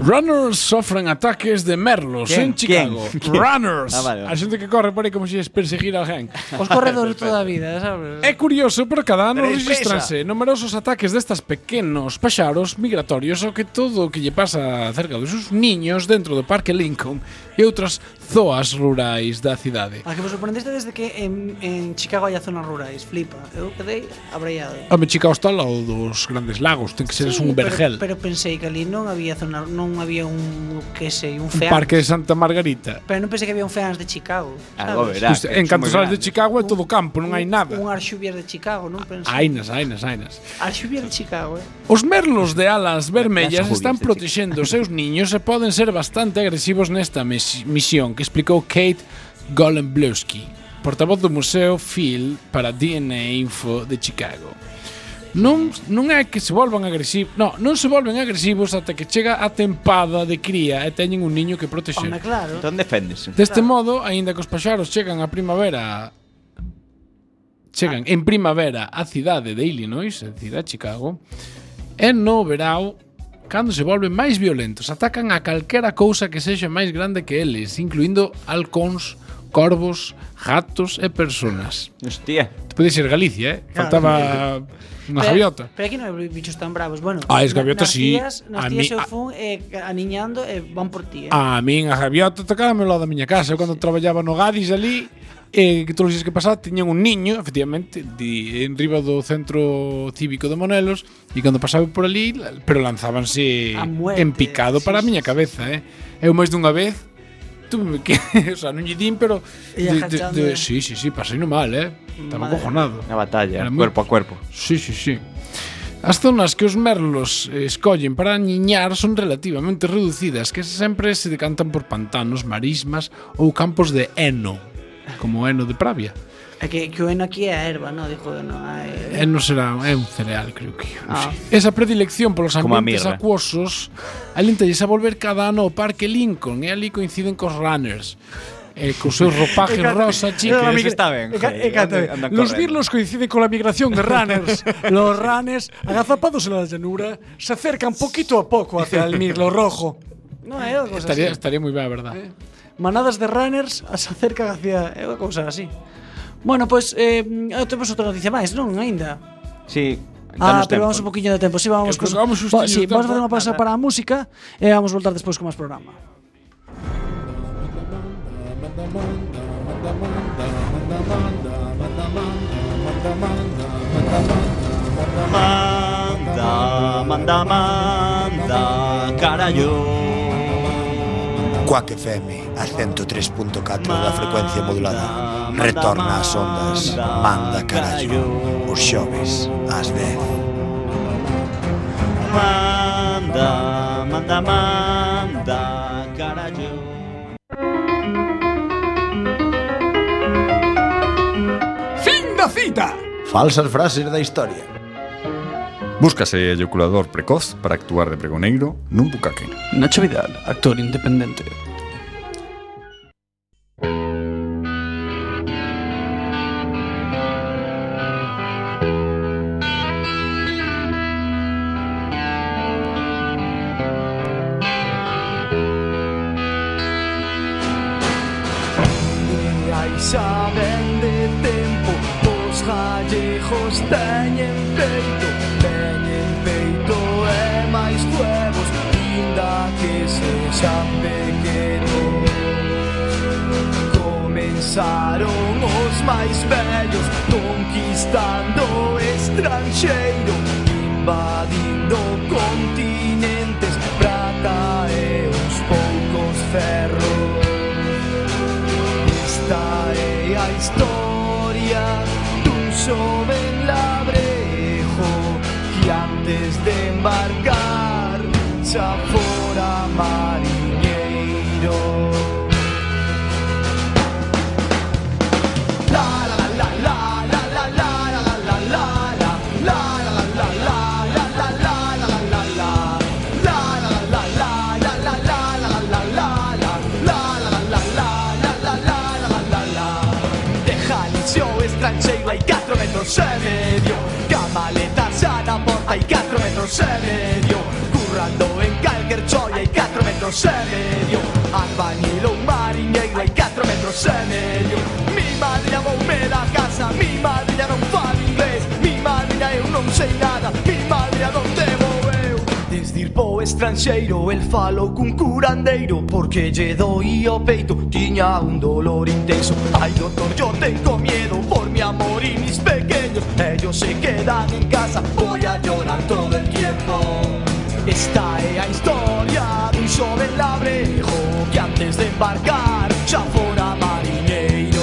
I: Runners sofren ataques de merlos
J: ¿Quién?
I: en Chicago.
J: ¿Quién?
I: Runners.
J: Ah, vale, vale.
I: A xente que corre por aí como se es perseguir a alguén.
H: Os corredores toda a vida, sabes?
I: É curioso, pero cada ano
C: Tres
I: registranse numerosos ataques destas pequenos paxaros migratorios ao que todo o que lle pasa cerca dos seus niños dentro do Parque Lincoln e outras zoas rurais da cidade.
H: A que vos sorprendiste desde que en, en Chicago haya zonas rurais, flipa. Eu quedei abraiado.
I: Home, Chicago está ao lado dos grandes lagos, ten que ser Oh, un vergel.
H: Pero, pero pensei que ali non había zona, non había un, que sei, un
I: un
H: feans.
I: parque de Santa Margarita.
H: Pero non pensei que había un feans de Chicago.
J: Algo
H: sabes?
J: verá.
I: Justo, en canto sales de Chicago é todo campo, non hai
H: Un
I: nada.
H: Arxubias de Chicago, non pensei.
I: Ainas, ainas, ainas.
H: Arxubias de Chicago, eh.
I: Os merlos de alas vermellas
J: Las
I: están
J: jubias de
I: protexendo os seus niños e poden ser bastante agresivos nesta mes- misión que explicou Kate Golemblewski, portavoz do Museo Phil para DNA Info de Chicago. Non, non é que se volvan agresivos, no, non se volven agresivos ata que chega a tempada de cría e teñen un niño que protexer.
H: Home, claro.
J: Entón deféndese.
I: Deste modo, aínda que os paxaros chegan a primavera chegan en primavera á cidade de Illinois, é dicir, a Chicago, e no verao cando se volven máis violentos, atacan a calquera cousa que sexa máis grande que eles, incluindo halcóns, corvos, gatos e personas.
J: Hostia.
I: Pode ser Galicia, eh? Faltaba unha
H: Pero-
I: gaviota.
H: Pero aquí non hai bichos tan bravos. Bueno,
I: Ah, es
H: na-
I: gaviota,
H: nas
I: sí.
H: tías- Nas
I: A mí-
H: tías eu
I: a- Ah,
H: fun eh, aniñando e van por ti, eh.
I: A min a gaviota tocábame ao lado da miña casa. Eu cando traballaba no Gadis ali, eh, que todos os días que pasaba tiñan un niño, efectivamente, de, en riba do centro cívico de Monelos, e cando pasaba por ali, la- pero lanzábanse
H: A muerte,
I: en picado
H: sí,
I: para a
H: sí,
I: miña
H: sí.
I: cabeza, eh. Eu máis dunha vez tuve que, o sea, non lle din, pero
H: Ia agachando, eh.
I: sí, sí, sí, pasei no mal, eh. Estaba
H: Madre.
I: cojonado.
J: Unha batalla,
I: Era moi-
J: cuerpo a cuerpo.
I: Sí, sí, sí. As zonas que os merlos eh, escollen para niñar son relativamente reducidas, que sempre se decantan por pantanos, marismas ou campos de eno, como o eno de pravia.
H: É que, que o eno aquí é a erva, non? Dijo, non hai...
I: Eno Eh, será é un cereal, creo que. non
H: Ah.
I: sei. Esa predilección polos
J: Como a
I: ambientes
J: mirra.
I: acuosos alentalles a volver cada ano ao Parque Lincoln e ali coinciden cos runners. Eh, cos seus ropajes rosa,
J: Que
I: chicas.
J: eso está ben. joder, andan- andan
L: Los
J: correndo.
L: birlos coinciden con la migración de runners. Los runners, agazapados en la llanura, se acercan poquito a poco hacia el mirlo rojo.
H: Non é algo cosa
I: Estaría,
H: así.
I: estaría moi ben, a verdad.
H: Manadas de runners se acercan hacia... É unha cousa así. Bueno, pois, pues, eh, ah, temos outra noticia máis, non? Ainda.
J: Sí,
H: Ah,
J: danos
H: pero vamos un
J: tempo.
H: poquinho de tempo. Sí, vamos,
I: Que colgamos justiño
H: sí,
I: o
H: vamos a
I: tempo.
H: facer unha
I: Nada.
H: pausa para a música e vamos voltar despois con máis programa.
I: Esta
J: Manda, manda, manda, carallo.
M: Quack FM, a 103.4 da frecuencia modulada. Retorna ás ondas, manda carallo, os xoves, ás 10.
J: Manda, manda, manda, carallo.
I: Fin da cita.
M: Falsas frases da historia.
E: Búscase eyaculador precoz para actuar de pregoneiro nun bucaque.
H: Nacho Vidal, actor independente.
I: Día y saben de tempo Os gallejos teñen peito Teñen peito e máis huevos Inda que sexan pequenos Comenzaron os máis vellos Conquistando estranxeiro Invadindo continentes Prata e uns poucos ferros Esta é a historia dun xoven labrejo que antes de embarcar xa fora mariñeiro. La la la la la la la la la la la la la la la la la la la la la la la la la la la la la la la la la la la la la la la Deja liceo estranxeiro hai 4 metros e medio Ca maleta xa na porta hai 4 metros e medio Currando en calquer choia hai 4 metros e medio Albañil ou mariñeiro hai 4 metros e medio Mi madre voume da casa, mi madre non fala inglés Mi madre eu non sei nada, mi madre non te vou eu Desde ir po estranxeiro el falou cun curandeiro Porque lle doía o peito Tiña un dolor intenso Ai doctor, yo tengo miedo por mi amor y mis pequeños Ellos se quedan en casa Voy a llorar todo el tiempo Esta é a historia dun xoven labrejo Que antes de embarcar xa fora mariñeiro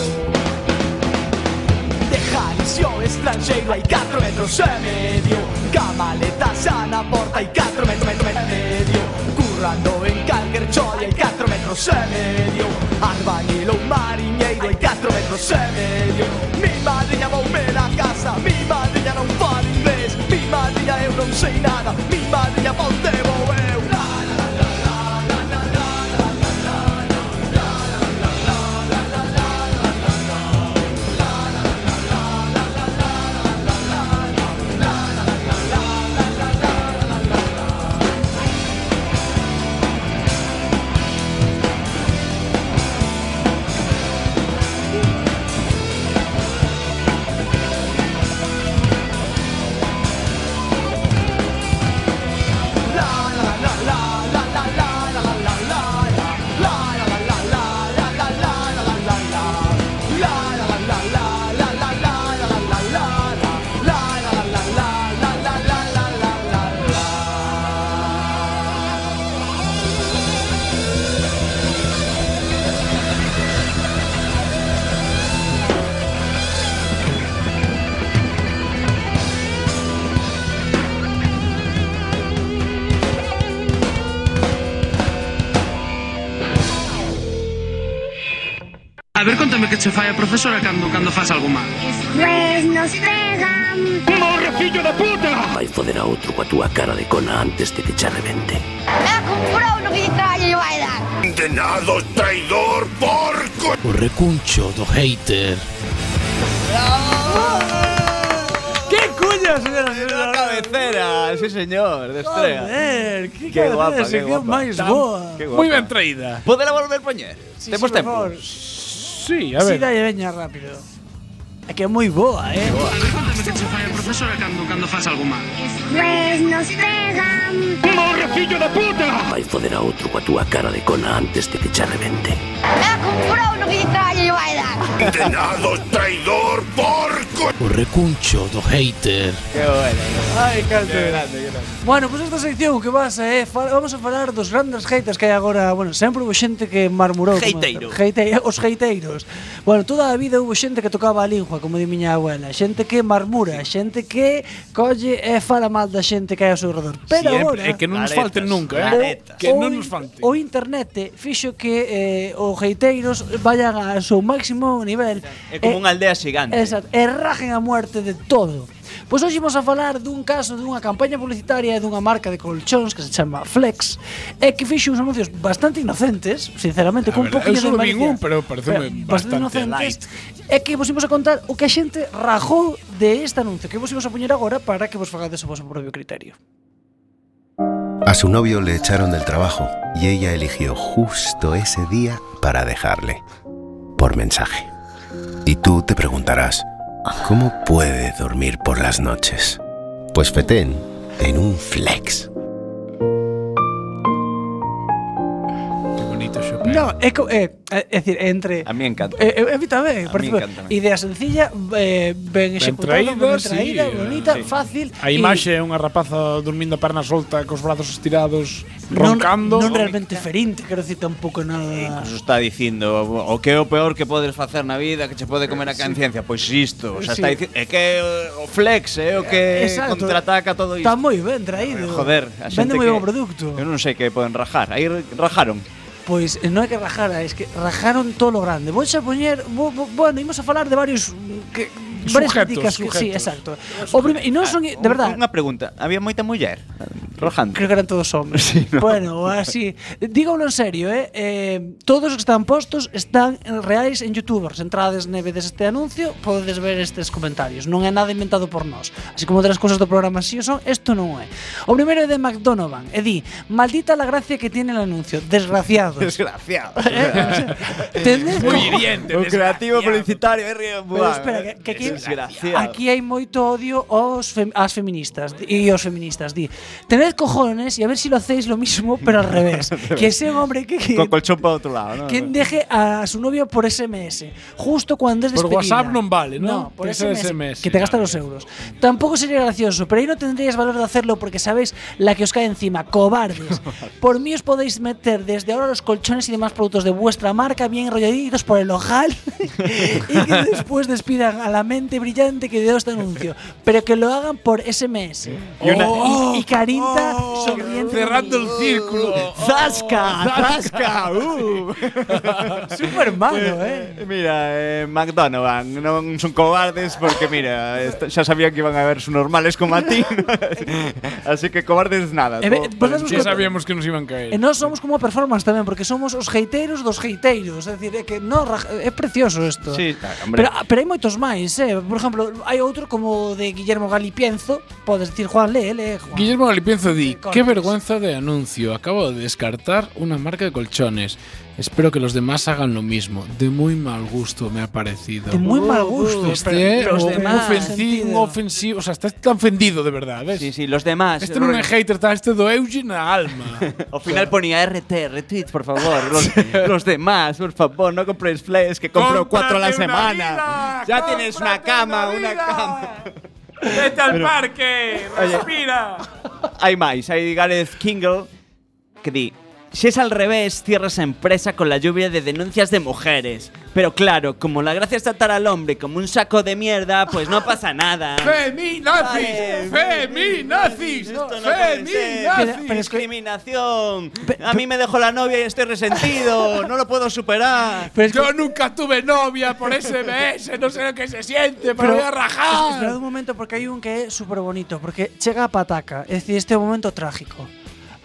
I: De Jalisco estranxeiro hai 4 metros e medio Ca maleta xa na porta hai 4 metros metro, e medio Currando en calquer choia hai 4 metros e medio Albañil ou mariñeiro hai 4 metros e medio Mi madriña voume da casa, mi madriña non fala inglés Mi madriña eu non sei nada, mi madriña ponte vou eu La, la, la, la, la.
N: A ver, contame que che fai a profesora cando cando faz algo mal.
K: Pues nos pegan. ¡Morre, fillo de puta!
O: Vai foder a outro coa túa cara de cona antes de que che arrebente.
K: Comprou no que lle traballo lle vai dar.
O: Condenado, traidor, porco! O recuncho do hater.
P: ¡Qué cuña, señoras y señores!
Q: cabecera, sí señor, de estrella.
P: Joder, que
Q: Qué
P: cabecera,
Q: guapa, qué
P: sección
Q: guapa.
P: máis
Q: Tan-
P: boa.
Q: qué
R: Muy
Q: guapa.
R: bien traída.
Q: Podela volver poñer?
P: Sí, sí,
Q: Temos
P: por
Q: tempo.
P: favor.
R: Sí,
P: Sí, dalle veña rápido.
H: É que é moi boa, eh?
S: Recorda-me que che fai a profesora cando, cando faz algo mal
T: Pues nos pegan. ¡Morrecillo de puta!
U: Vai foder a outro coa túa cara de cona antes de que che revente.
T: ¡Ha comprado lo que yo traía yo a edad!
U: Condenado traidor porco. O recuncho do hater.
H: Que bueno. Ai, canto
U: Que
H: grande, Bueno, pois pues esta sección que vas é eh, fal- vamos a falar dos grandes haters que hai agora, bueno, sempre houve xente que marmurou como-
V: Hateiro.
H: Hateiro, os hateiros. Bueno, toda a vida houve xente que tocaba a lingua, como di miña abuela, xente que marmura, xente que colle e fala mal da xente que hai ao seu redor. Pero
I: Siempre,
H: agora
I: é que non nos
H: Caretas,
I: falten nunca, eh.
H: caretas.
I: Que non
H: Oi.
I: nos falte.
H: o internet fixo que eh, os hateiros vayan ao seu máximo nivel. Eh,
J: É como
H: E-
J: unha aldea xigante.
H: Exacto, e rajen a muerte de todo. Pois hoxe imos a falar dun caso dunha campaña publicitaria dunha marca de colchóns que se chama Flex e que fixo uns anuncios bastante inocentes, sinceramente,
I: A
H: con un
I: verdade,
H: poquinho
I: eu
H: de
I: solo vin
H: malicia.
I: un, pero pareceume bastante light.
H: E que vos imos a contar o que a xente rajou de este anuncio que vos imos a poñer agora para que vos fagades o vosso propio criterio.
W: A su novio le echaron del trabajo y ella eligió justo ese día para dejarle, por mensaje. Y tú te preguntarás, ¿cómo puede dormir por las noches? Pues Fetén, en un flex.
I: bonito show.
H: No, é, co- é, é, é dicir, é entre
J: A mí encanta.
H: Eh, eh, a mí tamén,
J: A
H: por
J: mí
H: favor.
J: encántame.
H: Idea sencilla, eh, ben executada, ben
I: traída, sí,
H: traída,
I: eh,
H: bonita,
I: sí.
H: fácil.
I: A
H: e-
I: imaxe é unha rapaza dormindo a perna solta cos brazos estirados, roncando.
H: Non realmente ferinte, quero dicir tampouco nada.
J: Nos está dicindo o o que é o peor que podes facer na vida, que che pode comer a conciencia, pois isto, o sea,
H: Sí.
J: está dicindo, é que eh, o flex é o que
H: Exacto.
J: contraataca todo isto.
H: Está moi ben traído.
J: Joder, a xente
H: Vende moi
J: que-
H: ben o produto.
J: Eu non sei que poden rajar, aí rajaron.
H: Pois eh, non é que rajara, é que rajaron todo lo grande. Vou xa poñer, bo, bo, bueno, imos a falar de varios mm, que varias
J: Sujetos,
H: críticas que sí,
J: sujetos.
H: exacto. O primeiro, e non son de verdade.
J: Ah, Unha pregunta, había moita muller rajando.
H: Creo que eran todos hombres. Bueno, así. Dígolo en serio, eh? eh todos os que están postos están en reais en YouTube. Se entrades neve vedes este anuncio, podedes ver estes comentarios. Non é nada inventado por nós. Así como outras cousas do programa si o son, isto non é. O primeiro é de McDonovan. E di, maldita la gracia que tiene el anuncio. Desgraciado.
J: Desgraciado.
H: Eh, Tendes
J: Muy
H: como-
J: hiriente, Un creativo publicitario, eh,
H: Pero espera, que, que aquí,
J: Desgraciado.
H: aquí hai moito odio aos fem, as feministas e os feministas, di. Tened cojones y a ver si lo hacéis lo mismo, pero al revés. que ese hombre que, que
J: Co colchón para outro lado,
I: Ah,
J: non?
H: quien deje a su novio por SMS, justo cuando es
I: Por
H: despedida.
I: WhatsApp non vale, non?
H: No, por
I: Ten que ser
H: SMS,
I: SMS,
H: que te gasta los euros. Tampoco sería gracioso, pero ahí no tendríais valor de hacerlo porque sabéis la que os cae encima, cobardes. por mí os podéis meter desde ahora los colchones y demás productos de vuestra marca bien enrolladitos por el ojal y que después despidan a la mente brillante que dio este anuncio, pero que lo hagan por SMS.
I: Y una-
H: Oh, Y- y Carinta sonriente.
I: Oh, Cerrando el círculo.
J: Oh,
H: ¡Zasca! uh.
J: ¡Zasca!
H: Super malo, eh.
J: Mira, eh, McDonald's, non son cobardes porque, mira, est- xa sabían que iban a haber normales como a ti. Así que cobardes nada.
H: Eh, ve- vos damos
I: Ya
H: cuenta-
I: sabíamos que nos iban a caer.
H: E nós somos como a performance tamén, porque somos os heiteiros dos heiteiros, é dicir, é que no, raj- é precioso isto.
J: Sí, claro, hombre.
H: pero, ah, pero hai moitos máis, eh? por exemplo, hai outro como de Guillermo Galipienzo, podes dicir Juan, lee, lee, Juan.
I: Guillermo Galipienzo di,
H: Cortes.
I: qué vergüenza de anuncio, acabo de descartar una marca de colchones. Espero que los demás hagan lo mismo. De muy mal gusto me ha parecido.
H: De muy mal gusto.
I: Este
H: Pero-
I: es
H: pero los
I: un
H: demás.
I: ofensivo, un ofensivo. O sea, está tan ofendido de verdad, ¿ves? Sí,
J: sí, los demás.
I: Este no
J: rollo.
I: es hater, está este do Eugene a alma.
J: Al final ponía RT, retweets, por favor. Los, los demás, por favor, no compréis flares que compro cuatro a la
I: ¡Cómprate una
J: semana. Ya tienes una cama, una, cama.
I: ¡Vete
J: al Pero-
I: parque!
J: Oye.
I: ¡Respira!
J: Hay más, hay Gareth Kingle que di, si es al revés, cierra esa empresa con la lluvia de denuncias de mujeres. Pero claro, como la gracia es tratar al hombre como un saco de mierda, pues no pasa nada.
I: ¡Feminazis! ¡Feminazis! ¡Feminazis!
J: discriminación. A mí me dejó la novia y estoy resentido. No lo puedo superar.
I: Yo nunca tuve novia por SMS, no sé lo que se siente, pero, voy a
H: es que
I: rajar.
H: esperad un momento, porque hay un que es súper bonito, porque llega a Pataca, es decir, este momento trágico.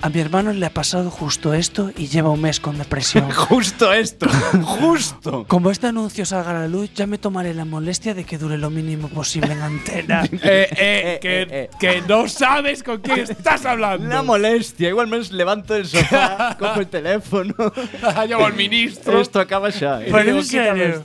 H: A mi hermano le ha pasado justo esto y lleva un mes con depresión.
J: justo esto, justo.
H: Como este anuncio salga a la luz, ya me tomaré la molestia de que dure lo mínimo posible en antena.
I: Eh, eh, que, que no sabes con quién estás hablando.
J: Una molestia. Igual me levanto del sofá, cojo el teléfono.
I: Llamo al ministro.
J: Esto acaba ya. eh.
I: Pero en serio.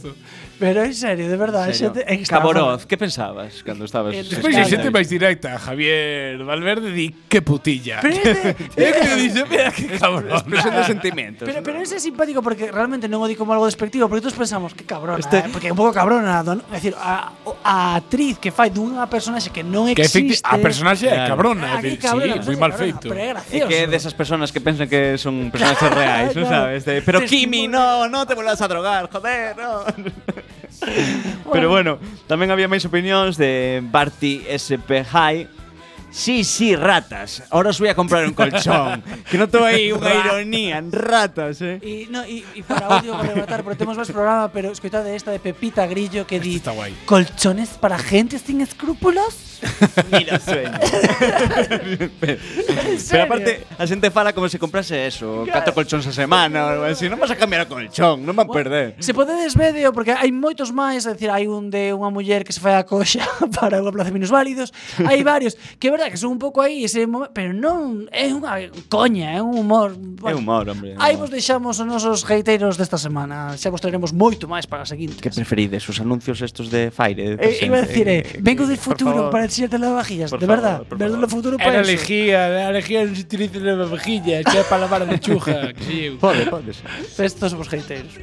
H: Pero en serio, de verdad.
J: Serio.
H: xente- é que está
J: Caboroz, que pensabas cando estabas?
I: Pues
X: Despois a xente máis directa, Javier Valverde di que putilla.
H: Pero
X: é que dice, mira que cabrón.
J: Expresión de sentimientos.
H: Pero, pero ese é simpático porque realmente non o di como algo despectivo, porque todos pensamos que cabrona,
X: Este-
H: eh? porque é un pouco cabrona, don, é dicir, a, o- a actriz que fai dunha personaxe que non
X: Que
H: existe.
X: efecti- a personaxe é cabrona, é
H: Ah, que
X: dicir, sí,
H: cabrona, a
X: moi
H: personaxe
X: mal
H: é
X: feito.
H: Pero é
J: É
H: gracioso.
J: que é desas personas que pensan que son personaxes reais, non
H: Claro.
J: sabes? De, pero
H: Te
J: Kimi, no, no te vuelvas a drogar, joder, no. Pero bueno, tamén había máis opinións de Barty SP High. Sí, sí, ratas. Ahora os voy a comprar un colchón. que noto aí unha ironía, ratas, eh.
H: E no, y, y para audio para rematar, porque temos máis programa, pero escoitade esta de Pepita Grillo que di
X: Está guai.
H: colchones para gente sin escrúpulos.
J: Mira, sueño. Pero aparte, a xente fala como se comprase eso, catro colchóns a semana ou algo así. Non vas a cambiar o colchón, non vas a perder.
H: Se podedes vídeo porque hai moitos máis, é dicir, hai un de unha muller que se fai a coxa para unha plaza de minusválidos, hai varios que é verdad que son un pouco aí ese momento, pero non é unha coña, é un humor.
J: É humor, hombre.
H: Aí vos deixamos os nosos hateiros desta semana, xa vos traeremos moito máis para a seguinte.
J: Que preferides, os anuncios estos de Fire?
H: Eh, iba a decir, eh, vengo del futuro
J: favor.
H: para enseñarte las vajillas,
J: Por
H: de verdad,
J: favor, por
H: vengo del futuro para
X: Era
H: eso.
X: lejía, era lejía non se utiliza na vajilla, que é para lavar a lechuga. que sí, eu.
J: Pode, pode ser.
H: Estos somos hateiros.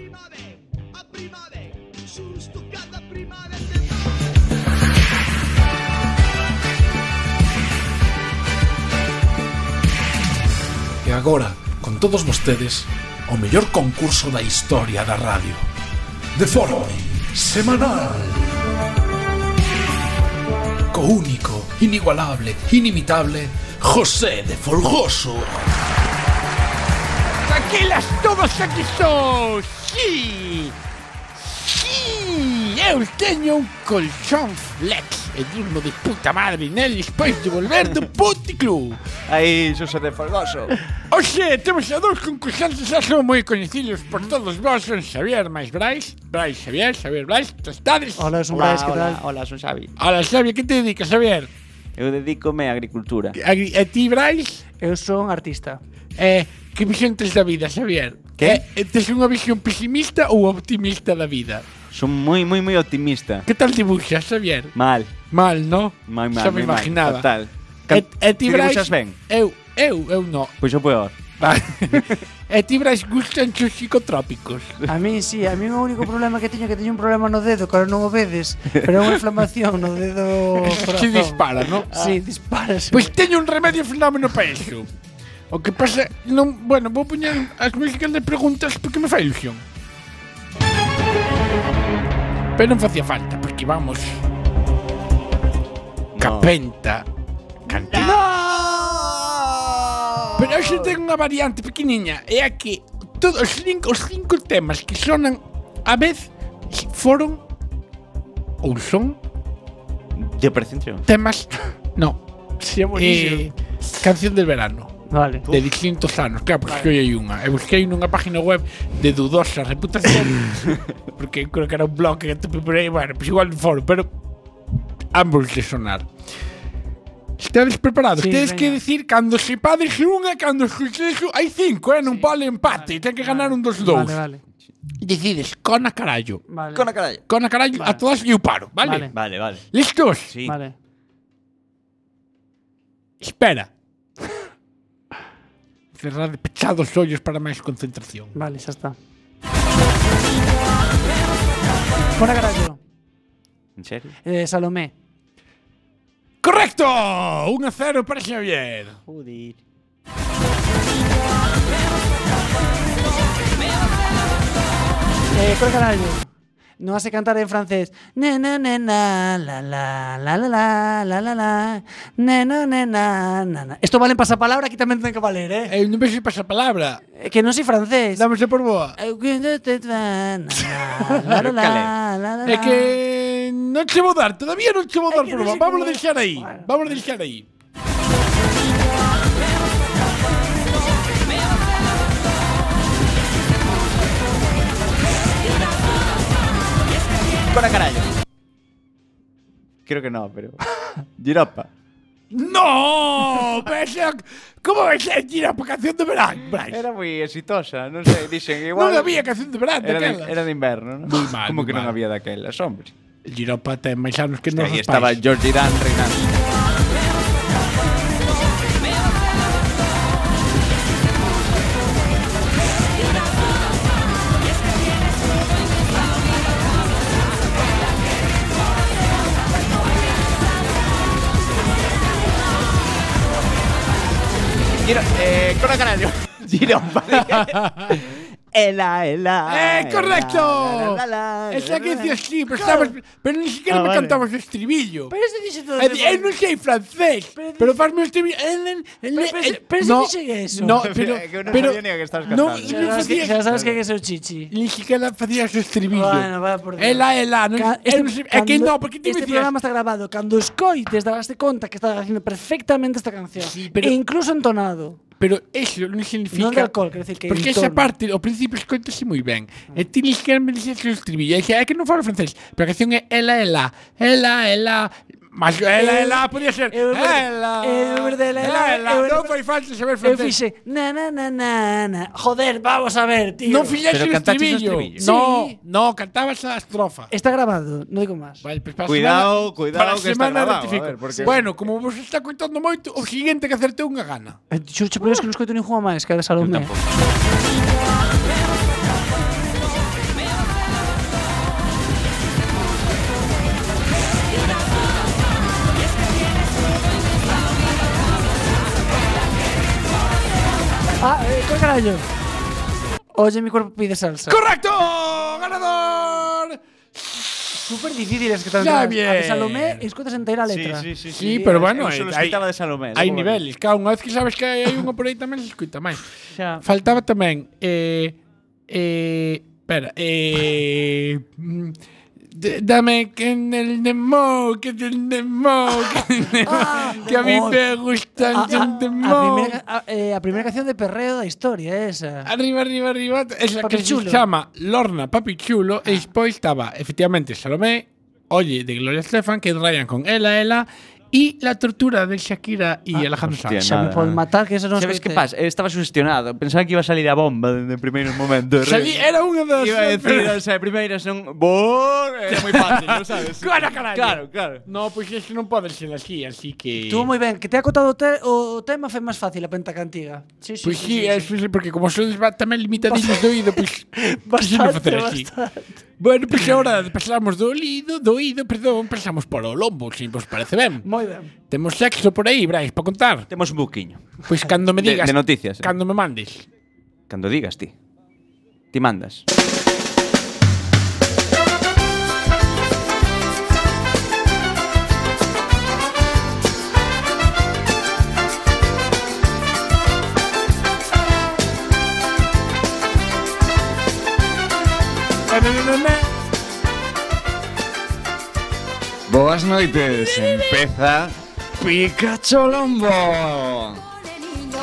X: E agora, con todos vostedes, o mellor concurso da historia da radio. De forma semanal. Co único, inigualable, inimitable, José de Folgoso.
I: Tranquilas, todos aquí son. Sí. Sí. Eu teño un colchón flex e durmo de puta madre nel despois de volver do puticlub.
J: Aí, Xosé de Folgoso.
I: Oxe, Oh, temos a dous concursantes xa son moi coñecidos por todos vós, son Xavier máis Brais, Brais Xavier, Xavier Brais, tostades.
H: Hola, son
I: Brais,
J: Hola, hola, hola, son Xavi.
I: Hola, Xavi, que te dedicas, Xavier?
J: Eu dedícome á agricultura.
I: Agri- E ti, Brais?
H: Eu son artista.
I: Eh, que visión tes da vida, Xavier? Que? Eh, tes unha visión pesimista ou optimista da vida?
J: Son moi, moi, moi optimista.
I: Que tal dibuxas, Xavier?
J: Mal.
I: Mal, no?
J: Mal,
I: Xa
J: mal,
I: me
J: moi mal,
I: imaginaba.
J: Total.
I: E, e ti,
J: Ti
I: Brais?
J: dibuxas ben?
I: Eu, eu, eu no.
J: Pois o peor.
I: E ti, Brais, gustan os psicotrópicos?
H: A mí sí, a mí o único problema que teño é que teño un problema no dedo, que ahora non o vedes, pero é unha inflamación no dedo
I: Si
H: corazón. Ah.
I: dispara, ¿no?
H: Sí, disparas.
I: Pois teño un remedio fenómeno para iso. O que pasa, non, bueno, vou poñer as músicas de preguntas porque me fai ilusión. Pero non facía falta, porque vamos. Capenta. Cantina. Pero hoxe ten unha variante pequeniña, é a que todos os cinco, os cinco temas que sonan a vez foron ou son
J: De precensión.
I: temas. No. Sí,
J: buenísimo.
I: canción del verano.
H: Vale.
I: De distintos anos, claro, porque hoy hai unha. E busquei nunha página web de dudosa reputación, porque creo que era un blog que te preparei, bueno, pues igual un foro, pero ambos de sonar. Estades preparados?
X: Sí,
I: Tedes
X: veña.
I: que decir cando sepades unha, cando escuches hai cinco, eh? non vale empate, ten que ganar un dos dous.
H: Vale, vale.
I: Decides, cona carallo.
H: Vale.
I: Cona carallo. Cona carallo, a todas e eu paro, vale?
J: Vale, vale.
I: ¿Listos?
J: Sí.
H: Vale.
I: Espera. Cerrad pechados os ollos para máis concentración.
H: Vale, xa está. Fora carallo.
J: En serio?
H: Eh, Salomé.
I: ¡Correcto! 1 a 0 para Xavier.
J: Joder.
H: Eh, cor carallo. Non hace cantar en francés. Nena, nena, la, la, la, la, la, la, la, la. Nena, nena, na, na. Esto vale en pasapalabra, aquí tamén ten que valer, eh?
I: Eh, non pensei pasapalabra.
H: Eh, que non sei francés.
I: Dámosle por boa.
H: Eh, que non te va, na, na, la, la, la, la, la,
I: É que non che vou dar, todavía non che vou dar
H: que
I: por
H: non
I: boa.
H: sei
I: Vámonos
H: como é.
I: deixar aí. Vámonos deixar aí.
J: Para carallo. Creo que no, pero. Giropa.
I: ¡No! Esa- ¿Cómo ves a tirar para canción de verano, Bryce?
J: Era muy exitosa, non sei, dixen igual.
I: Non había canción de verán
J: era de,
I: daquelas.
J: era de inverno, non?
I: Muy mal,
J: Como
I: muy
J: que non
I: mal.
J: había daquelas, hombre.
I: Giropata en máis anos que nos
J: Aí
I: os
J: estaba
I: pais.
J: George Dan reinando. Giro, eh, Cora Canario. Giro, vale. Ela, ela.
I: ¡Eh, correcto!
J: La, la, la, la,
I: Esa que decía sí, pero,
J: Claro.
I: estabas- pero ni siquiera
J: Ah,
I: me
J: vale.
I: cantabas el estribillo.
H: Pero ese dice todo.
I: Eh, eh, no sei francés, pero hazme el estribillo.
H: pero
I: no,
H: ese dice eso.
I: No, pero.
J: Que no
I: pero-
J: sabía ni a qué estabas
I: no,
J: cantando.
I: y no
H: que-
I: sabía-
H: ya sabes que es el chichi.
I: Ni siquiera hacías estribillo.
H: Bueno, va por Dios.
I: Ela, ela. No,
H: Ca-
I: eh,
H: este-
I: no sé- es
H: cando-
I: que no, porque te
H: Este
I: decías.
H: programa está grabado. Cuando escoites, dabaste conta que estaba haciendo perfectamente esta canción.
I: pero-
H: e incluso entonado.
I: Pero eso no significa.
H: No de alcohol, quero decir que
I: Porque
H: entona.
I: esa parte, ao principio, escoitase moi ben. E ti ni siquiera me dixes o estribillo. E dixen, é que non falo francés. Pero a canción é ela, ela, ela, ela. Mas ela,
H: Eu-
I: ela, podía ser.
H: eu verde-
I: Ela,
H: eu verde- ela,
I: ela,
H: ela,
I: ela.
H: eu verde-
I: Non foi falta saber
H: Eu
I: francés.
H: fixe, na na na na na. Joder, vamos a ver, tío.
I: Non fixaxe o estribillo. No,
H: Sí,
I: no, cantabas a estrofa.
H: está grabado, no digo más.
I: Vale, pues para a semana-
J: Cuidado, cuidado
I: para a
J: que está
I: semana
J: grabado,
I: rectifico.
J: a ver, porque-
I: Bueno, como vos está contando moito, o siguiente que acertei unha gana.
H: Eh, Churcho, por Dios, que no escoito ninguna máis, que a de eh. Salomé. Ah, eh, ¿qué carallo? Oye, mi cuerpo pide salsa.
I: ¡Correcto! ¡Ganador!
H: Súper difíciles que están.
I: Ya
H: A de
I: bien.
H: Salomé, escuchas entera a letra.
I: Sí, pero bueno,
J: Eso nos
I: hay-
J: quitaba de Salomé.
I: Hai
J: ¿no?
I: niveles, cada unha vez que sabes que hai unha por aí tamén se escuita máis.
J: Xa.
I: Faltaba tamén eh eh espera, eh mm, d- dame que en el demo, que en el demo, que, en el-
H: Ah,
I: que a mí me gusta
H: A,
I: el
H: Ah, a-
I: demo.
H: a primera, a- eh, a primera canción de perreo da historia, eh, esa.
I: Arriba, arriba, arriba. Es la
H: Papi
I: que se
H: chulo. Ah.
I: llama Lorna Papi Chulo. E despois estaba, efectivamente, Salomé, Oye de Gloria Estefan, que Ryan con Ela, Ela, y La Tortura de Shakira y Alejandro
J: hostia,
I: Sanz.
J: nada.
H: Por matar, que eso no
J: ¿Sabes
H: escoite.
J: qué pasa? Eh, Estaba sugestionado. Pensaba que iba a salir a bomba desde el primer momento.
I: Salí, era unha das...
J: Iba a decir, o sea, primeira son... Bor... Era moi fácil, non sabes?
I: Claro, carallo.
J: Claro, claro.
I: No, pois pues eso non pode ser así, así que...
H: Estuvo moi ben, que te ha acotado o, te o tema foi máis fácil a pentacantiga. Sí, sí,
I: Pois
H: sí,
I: sí,
H: sí,
I: é sí, porque como sodes ba- tamén limitadísimos do oído, pois deixame facer así. Bueno, pois agora pasamos do oído, do oído, perdón, pasamos para o lombo, se vos parece ben.
H: Moi ben.
I: Temos sexo por aí, Brais, para contar.
J: Temos un buquiño.
I: Pois cando me
J: De-
I: digas,
J: de noticias, eh.
I: Cando me mandes.
J: Cando digas ti. Ti mandas.
M: Boas noites, empeza Pikachu Lombo.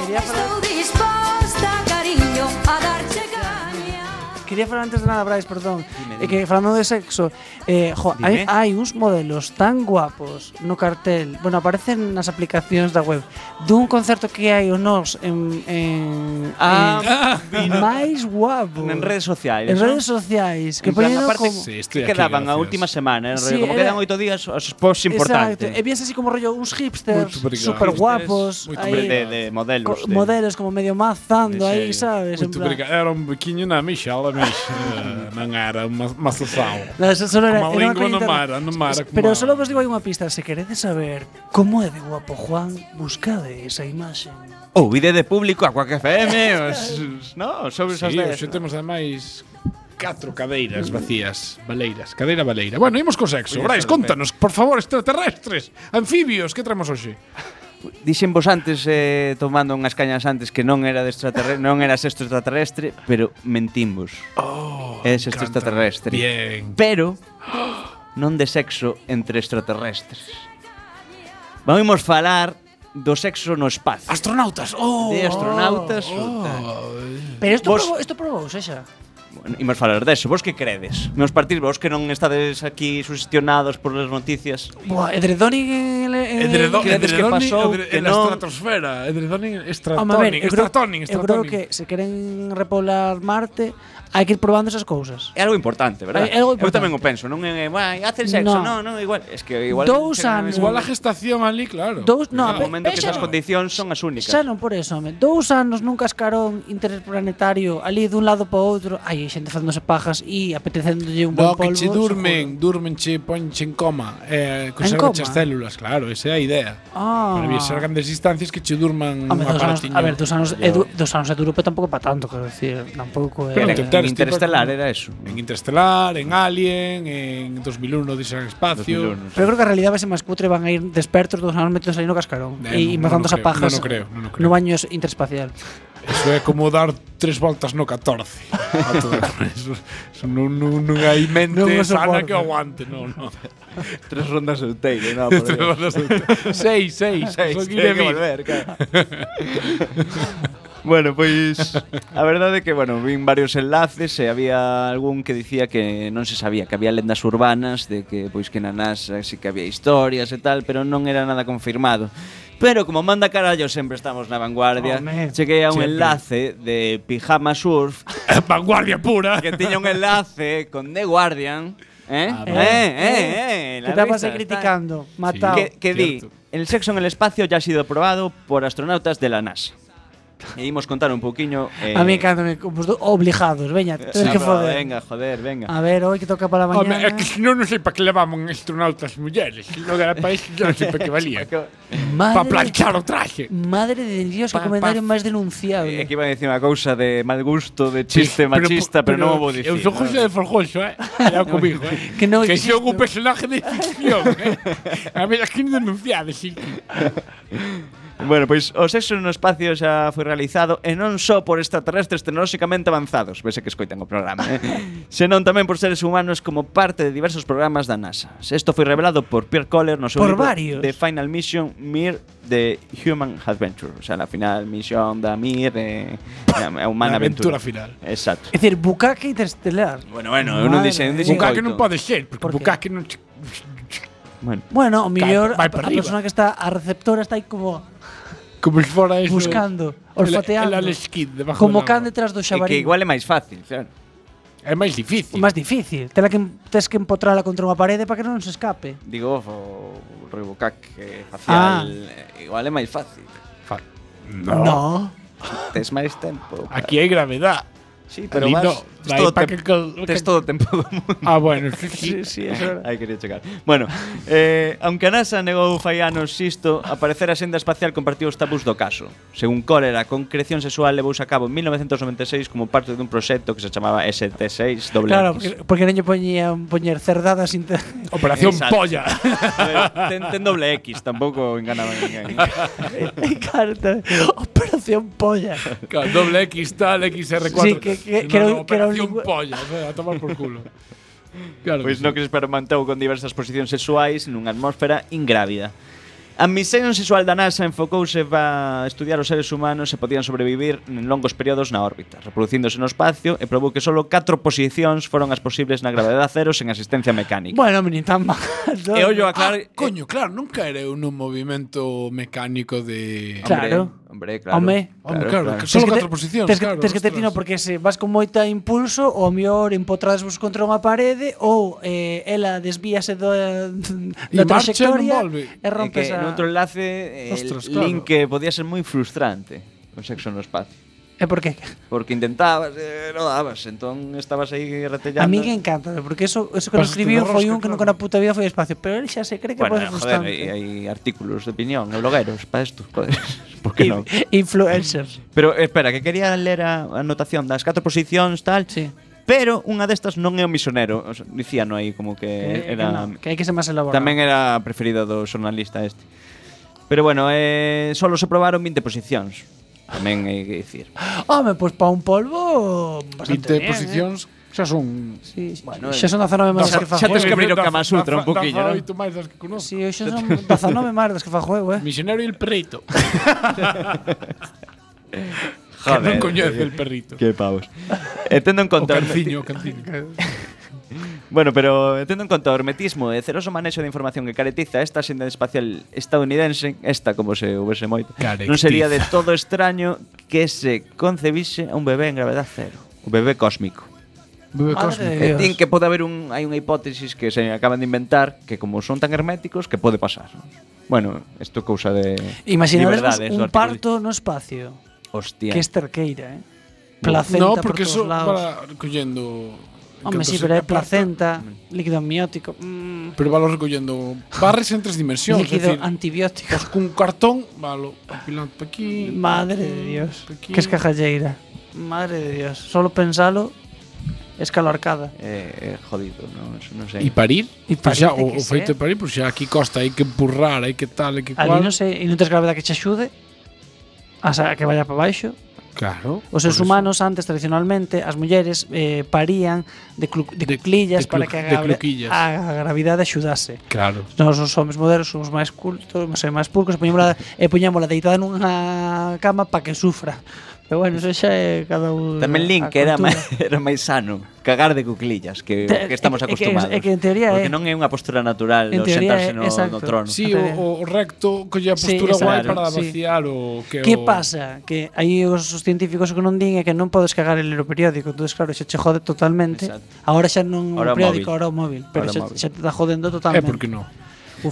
Y: Estou disposta, cariño, a darche caña.
H: Quería falar antes de nada, Brais, perdón. É que falando de sexo, eh, jo, hai,
J: Dime.
H: hai uns modelos tan guapos no cartel, bueno, aparecen nas aplicacións da web, dun concerto que hai o nos en, en,
J: Ah,
H: en máis guapo.
J: En redes sociais.
H: En
J: non?
H: redes sociais, que
J: En plan,
H: poñeron
J: aparte,
H: como...
J: sí, estoy que quedaban a última semana, en
H: Sí,
J: rollo, como
H: era-
J: quedan oito días, os posts importantes.
H: Exacto, e vías así como rollo uns hipsters
J: Moito obrigado.
H: super guapos,
J: Hipsters, moito
H: aí,
J: obrigado. De- de modelos,
H: co-
J: de-
H: modelos como medio mazando aí, sabes, en
I: Muito
H: plan.
I: obrigado. Era um biquinho na michala, mas eh, non era uma, uma sessão.
H: No, eso solo era,
I: Como a
H: era
I: lingua non
H: una coña
I: mara,
H: interna.
I: non mara.
H: Pero
I: como a-
H: solo vos digo aí unha pista, se queredes saber como é de guapo Juan, buscade esa imaxe.
J: Ou vide de público a Quack FM, os, os- no, sobre esas
I: Sí,
J: dez.
I: hoxe temos ademais catro cadeiras vacías, baleiras, cadeira baleira. Bueno, imos co sexo.
J: Oye,
I: Brais,
J: espera,
I: contanos, por favor, extraterrestres, anfibios, que traemos hoxe?
J: Dixen vos antes, eh, tomando unhas cañas antes, que non era de extraterrestre, non era sexto extraterrestre, pero mentimos. Oh, é sexto extraterrestre.
I: Bien.
J: Pero non de sexo entre extraterrestres. Vamos falar do sexo no espacio.
I: Astronautas. Oh,
J: de astronautas.
H: Pero isto
J: Vos-
H: probou, isto probou, xa.
J: Bueno, imos falar deso. Vos que credes? Meus partidos, vos que non estades aquí sugestionados por as noticias.
H: Buah, edredón en, el- en eh,
I: Edredo-
H: credes que
I: edredoni
H: pasou
I: edre-
H: que
I: en a
H: non?
I: estratosfera. eh, Edredoni
H: Home, a ver,
I: estratonin,
H: eu creo,
I: estratonin,
H: eu creo
I: estratonin.
H: que se queren repoblar Marte hai que ir probando esas cousas.
J: É algo importante, verdad?
H: É algo
J: Eu
H: importante.
J: tamén o penso, non é, vai, hacer sexo,
H: No.
J: non, non, igual, es que igual
H: Dous
J: chegan a
H: anos.
J: ese
H: Igual a
J: momento.
I: Estación ali, claro.
H: Dous- eh, no,
J: Chega
H: pe-
J: un momento que
H: pensa-
J: esas condicións son as únicas.
H: Xa non por eso, home. Dous anos nun cascarón interplanetario ali dun lado para outro, hai xente facéndose pajas e apetecéndolle un
I: No, que
H: bon polvo.
I: che durmen, durmen che ponche en coma, eh, conservan
H: coma?
I: as células, claro, esa é a idea.
H: Ah.
I: Para viaxar grandes distancias que che durman
H: Home,
I: un
H: dos anos,
I: aparatiño.
H: a ver, dos anos, é du, dos anos é duro, pero tampouco para tanto, quero decir, tampouco é...
I: Pero
H: é-
I: intentar este tipo-
J: era eso.
I: En Interestelar, en Alien, en 2001 Odisea en el espacio.
H: 2001, Pero eu creo que a realidade vai ser máis cutre, van a ir despertos dos anos metidos aí no cascarón
I: Eh,
H: e
I: non-
H: embazándose
I: non
H: a
I: creo,
H: pajas
I: non o creo, non o creo.
H: no baño es- interespacial.
I: Eso é como dar tres voltas no 14. A todo eso, eso non, non, non hai mente
U: Non o
I: sana
U: soporto.
I: que o aguante, non, non.
J: Tres rondas de Outeiro,
I: non, por Tres Dios. rondas de Outeiro. Seis, seis,
J: Ah, seis.
I: son
J: Tiene que
I: mil.
J: volver, claro. bueno, pues, pois a verdade é que, bueno, vin varios enlaces e había algún que dicía que non se sabía, que había lendas urbanas de que pois que na NASA sí que había historias e tal, pero non era nada confirmado. Pero como manda carallo sempre estamos na vanguardia,
I: Home,
J: chequei a un
I: sempre.
J: enlace de Pijama Surf
I: Eh, Vanguardia pura.
J: que tiña un enlace con The Guardian, eh? Eh,
H: ver.
J: eh, eh,
H: Te
J: la
H: estabas
J: risa
H: aí
J: está-
H: criticando, matado.
J: que, que di, el sexo en el espacio ya ha sido probado por astronautas de la NASA. E imos contar un pouquiño... eh,
H: A mí encántame, como os do- obligados, veña,
J: sí,
H: tens que Ah,
J: pero
H: foder.
J: Eh, Venga, joder, venga.
H: A ver, hoy que toca para la
I: Home, é
H: mañana.
I: que senón non sei para que levaban astronautas mulleres. Non era para isto, non sei para que valía.
H: Madre-
I: Para planchar o traje.
H: Madre de Dios, qué comentario más denunciable.
J: É eh, que iba a decir unha cousa de mal gusto, de chiste machista, pero, non o vou dicir.
I: Eu son José de Forjoso, eh? Cuidado comigo, eh?
H: que non
I: que
H: existe.
I: son un personaje de ficción, eh? A ver, aquí non denunciades, sí.
J: Bueno, pois o sexo no espacio xa foi realizado e non só por extraterrestres tecnolóxicamente avanzados, vese que escoitan o programa, eh? senón tamén por seres humanos como parte de diversos programas da NASA. Isto foi revelado por Pierre Coller no seu
H: Por
J: libro
H: varios.
J: The Final Mission Mir The Human Adventure, o sea, la final misión da Mir eh, a humana
I: La aventura
J: aventura.
I: final.
J: Exacto.
H: Es decir, bucaque interestelar.
J: Bueno, bueno, eu non
H: Madre
J: dixen,
H: mía.
J: eu dixen
I: Bukake
J: oito.
I: non pode ser, porque
H: Por que?
I: Bukake non... che-
J: Bueno.
H: Bueno, o mellor a,
I: Vai
H: a
I: para arriba.
H: persona que está a receptora está aí como
I: Como se fora eso.
H: buscando,
I: El-
H: olfateando.
I: El Alex Kidd debajo
H: como
I: del
H: can
I: agua.
H: detrás do
J: É e que
H: xabarín.
J: igual é máis fácil, claro.
I: É máis difícil.
H: Más difícil. Tela que tes que empotrala contra unha parede para que non se escape.
J: Digo, o rebocaque facial,
H: Ah.
J: eh, igual é máis fácil.
I: No.
J: Tes máis tempo.
I: Aquí hai gravedad.
J: Sí, pero
I: Ali
J: vas-
I: no,
J: es
I: vai
J: todo
I: pa
J: tem-
I: que col-
J: tes todo tempo do mundo.
I: Ah, bueno, sí, sí.
J: sí, sí, eso era. Aí quería checar. Bueno, eh, aunque a NASA negou fai anos isto, aparecer a senda espacial compartiu os tabús do caso. Según Coller, a concreción sexual levouse a cabo en 1996 e como parte dun proxecto que se chamaba ST6
H: Claro, porque, porque non lle poñían poñer cerdadas inter...
I: Operación Polla.
J: ten, ten doble X, tampouco enganaba ninguén.
H: Carta. Operación polla.
I: Claro, doble X tal, XR4.
H: Sí, que- que- que era un- que era un
I: operación polla, o sea, a tomar por culo. Claro
J: pois
I: que
J: Pues no
I: sí.
J: que experimentou con diversas posicións sexuais nunha atmósfera ingrávida. A misión sexual da NASA enfocouse a estudiar os seres humanos se podían sobrevivir en longos períodos na órbita, reproducíndose no espacio e probou que solo 4 posicións foron as posibles na gravedade cero sen asistencia mecánica.
H: Bueno, meni tan mal.
J: E ollo a Clar-
I: Ah, coño, claro, nunca era un movimento mecánico de...
H: Claro.
J: Hombre,
H: Home,
I: Hombre, claro, que solo
H: Tes que te-
I: catro posicións,
H: Tes que,
I: claro,
H: tes que te
I: ostras.
H: tino porque se vas con moita impulso ou mellor empotradas vos contra unha parede ou eh, ela desvíase do, da
I: marcha e non
H: trayectoria
I: volve.
H: e rompes
J: que
H: a...
J: noutro enlace el
H: Ostras, claro.
J: link que podía ser moi frustrante o sexo no espacio.
H: E por qué?
J: Porque intentabas, eh, non dabas, entón estabas aí
H: A
J: retellando.
H: mí que encanta, porque eso, eso que nos
J: Pasaste
H: escribiu
J: de
H: foi un
J: rosca,
H: que nunca na puta vida foi ao espacio, pero él xa se cree que
J: Bueno,
H: pode ser
J: joder,
H: frustrante.
J: hay, hay artículos de opinión, no blogueros, para esto, joder. ¿Por qué no?
H: Influencers.
J: Pero espera, que quería ler a a anotación das catro posicións tal.
H: Sí.
J: Pero unha destas non é o misionero, o s- dicíano aí como que,
H: Que-
J: Eh, era
H: que, no, que hai que ser máis elaborado.
J: tamén era a preferida do xornalista este. Pero bueno, eh, solo se probaron 20 posicións. Tamén hai que dicir.
H: Home, pois pa un polvo
I: 20
H: bastante bien, eh.
I: posicións xa son...
H: Sí, bueno, xa son 19 máis que
I: Da-
H: fajo.
I: da faoito máis das que conozco.
H: Sí, xa son 19 máis das que fa juego, eh.
I: Misionero e el perrito.
J: Joder.
I: non coñece el perrito.
J: Que pavos. E tendo en
I: O
J: conta
I: canciño, o canciño.
J: Bueno, pero tendo en conta o hermetismo e celoso manexo de información que caretiza esta senda espacial estadounidense, esta como se houvese moito, non sería de todo extraño que se concebise a un bebé en gravedad cero. O bebé cósmico.
H: Bebé
J: Madre
H: cósmico.
J: E din que pode haber un hai unha hipótesis que se acaban de inventar que como son tan herméticos que pode pasar. Bueno, isto é cousa de eh,
H: Imaginaremos
J: liberdades, do
H: un
J: artigo-
H: parto no espacio.
J: Hostia.
H: Que es terqueira, eh. Placenta
I: no, porque
H: por
I: eso
H: todos lados.
I: va recollendo.
H: Home, sí, pero é placenta, líquido amniótico. Mm.
I: Pero valo recollendo barres en tres dimensións.
H: Líquido
I: é dicir,
H: antibiótico.
I: Pues cun cartón, valo, apilando pa aquí. pa
H: Madre de
I: aquí,
H: Dios.
I: pa aquí.
H: Que escajalleira. Madre de Dios. Solo pensalo escalorcada.
J: Eh, eh, jodido, non, Eso non sei.
I: E parir?
H: E
I: Pois xa, o,
H: parece que
I: o feito
H: sí. eh?
I: de parir, pois xa aquí costa, hai que empurrar, hai que tal, hai que cual.
H: Ali non sei, e non tes gravedade que che axude a sa- a que vaya para baixo.
I: Claro.
H: Os seres humanos antes tradicionalmente as mulleres eh, parían de, clu, de,
I: de
H: cluquillas para
I: clu-
H: que a,
I: de
H: gra-
I: cluquillas.
H: a gravidade axudase.
I: Claro.
H: Nós os homens modernos somos máis cultos, non sei, máis pulcos, e poñémola e poñémola deitada nunha cama para que sufra. Pero bueno, eso xa é cada un
J: Tamén
H: a
J: lin que era
H: cultura.
J: máis, era máis sano cagar de cuclillas que,
H: Te-
J: que estamos
H: é que- é que- é
J: acostumados.
H: que en teoría
J: porque
H: é-
J: non é unha postura natural
H: en
J: o
H: teoría é-
J: sentarse no, no
H: exacto.
J: trono.
I: Sí, o, o, o recto colle a
H: Sí,
I: postura guai
H: exacto,
I: para
H: sí.
I: vaciar o que
H: Que
I: o...
H: pasa? Que aí os os científicos o que non din é que non podes cagar el periódico, entonces claro, xa che jode totalmente. Agora xa non o
J: Ahora o
H: periódico,
J: móvil.
H: ahora o móvil, pero xa,
J: Ahora o móvil.
H: xa te está jodendo
I: Eh,
H: totalmente. ah,
J: porque
I: non?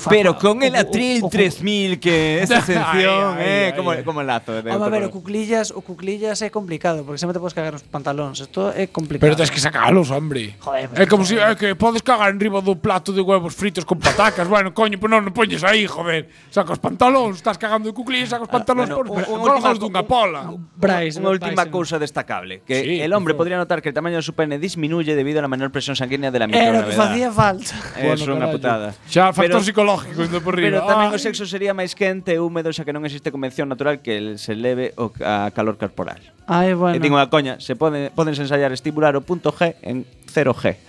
J: Pero con el Atril 3000 que esa sección,
H: Ay, ay, ay,
J: eh, como
H: ay.
J: como lazo de
H: Home, a ver, o cuclillas, o cuclillas é complicado, porque sempre te podes cagar os pantalóns, isto é complicado.
I: Pero tens que sacalos, hombre.
H: Joder,
I: É
H: eh.
I: como si é que podes cagar enriba do plato de huevos fritos con patacas. bueno, coño, pero non, non poñes aí, joder. Saca os pantalóns, estás cagando de cuclillas, saca os pantalóns,
J: Ah, bueno,
I: bueno,
J: un- un-
I: colgados dunha pola.
H: Bryce,
J: Una
H: no,
J: última
H: Bryce, no.
J: cosa destacable, que el hombre podría notar que el tamaño de su pene disminuye debido a la menor presión sanguínea de la
H: Era o que
J: microgravedad.
H: facía falta.
J: Es una putada.
I: Xa, factor
J: Pero-
I: psicológico indo por riba. Ah,
J: Pero tamén
I: Ay.
J: o sexo sería máis quente e húmedo xa que non existe convención natural que el- se leve o ca- a calor corporal.
H: Ai,
J: E digo
H: bueno.
J: unha coña, se pode, poden ensayar estimular o punto G en 0G.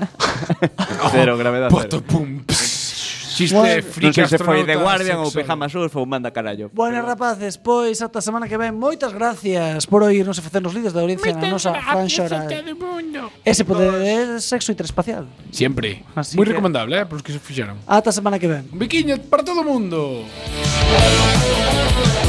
J: cero gravedad. Punto
I: pum. Chiste
H: Bueno.
J: non sei se foi de
H: astronauta,
J: Guardian ou
H: sexólogo.
J: Pijama Surf ou Manda Carallo.
H: Bueno, rapaces, pois ata a semana que ven. Moitas gracias por oírnos e facernos líderes da audiencia na nosa fan xoral. Ese poder sexo interespacial.
I: Siempre.
H: Así
I: Muy
H: que-
I: recomendable, eh, para os que se fixaron.
H: Ata a semana que ven.
I: Biquiñas para todo o mundo.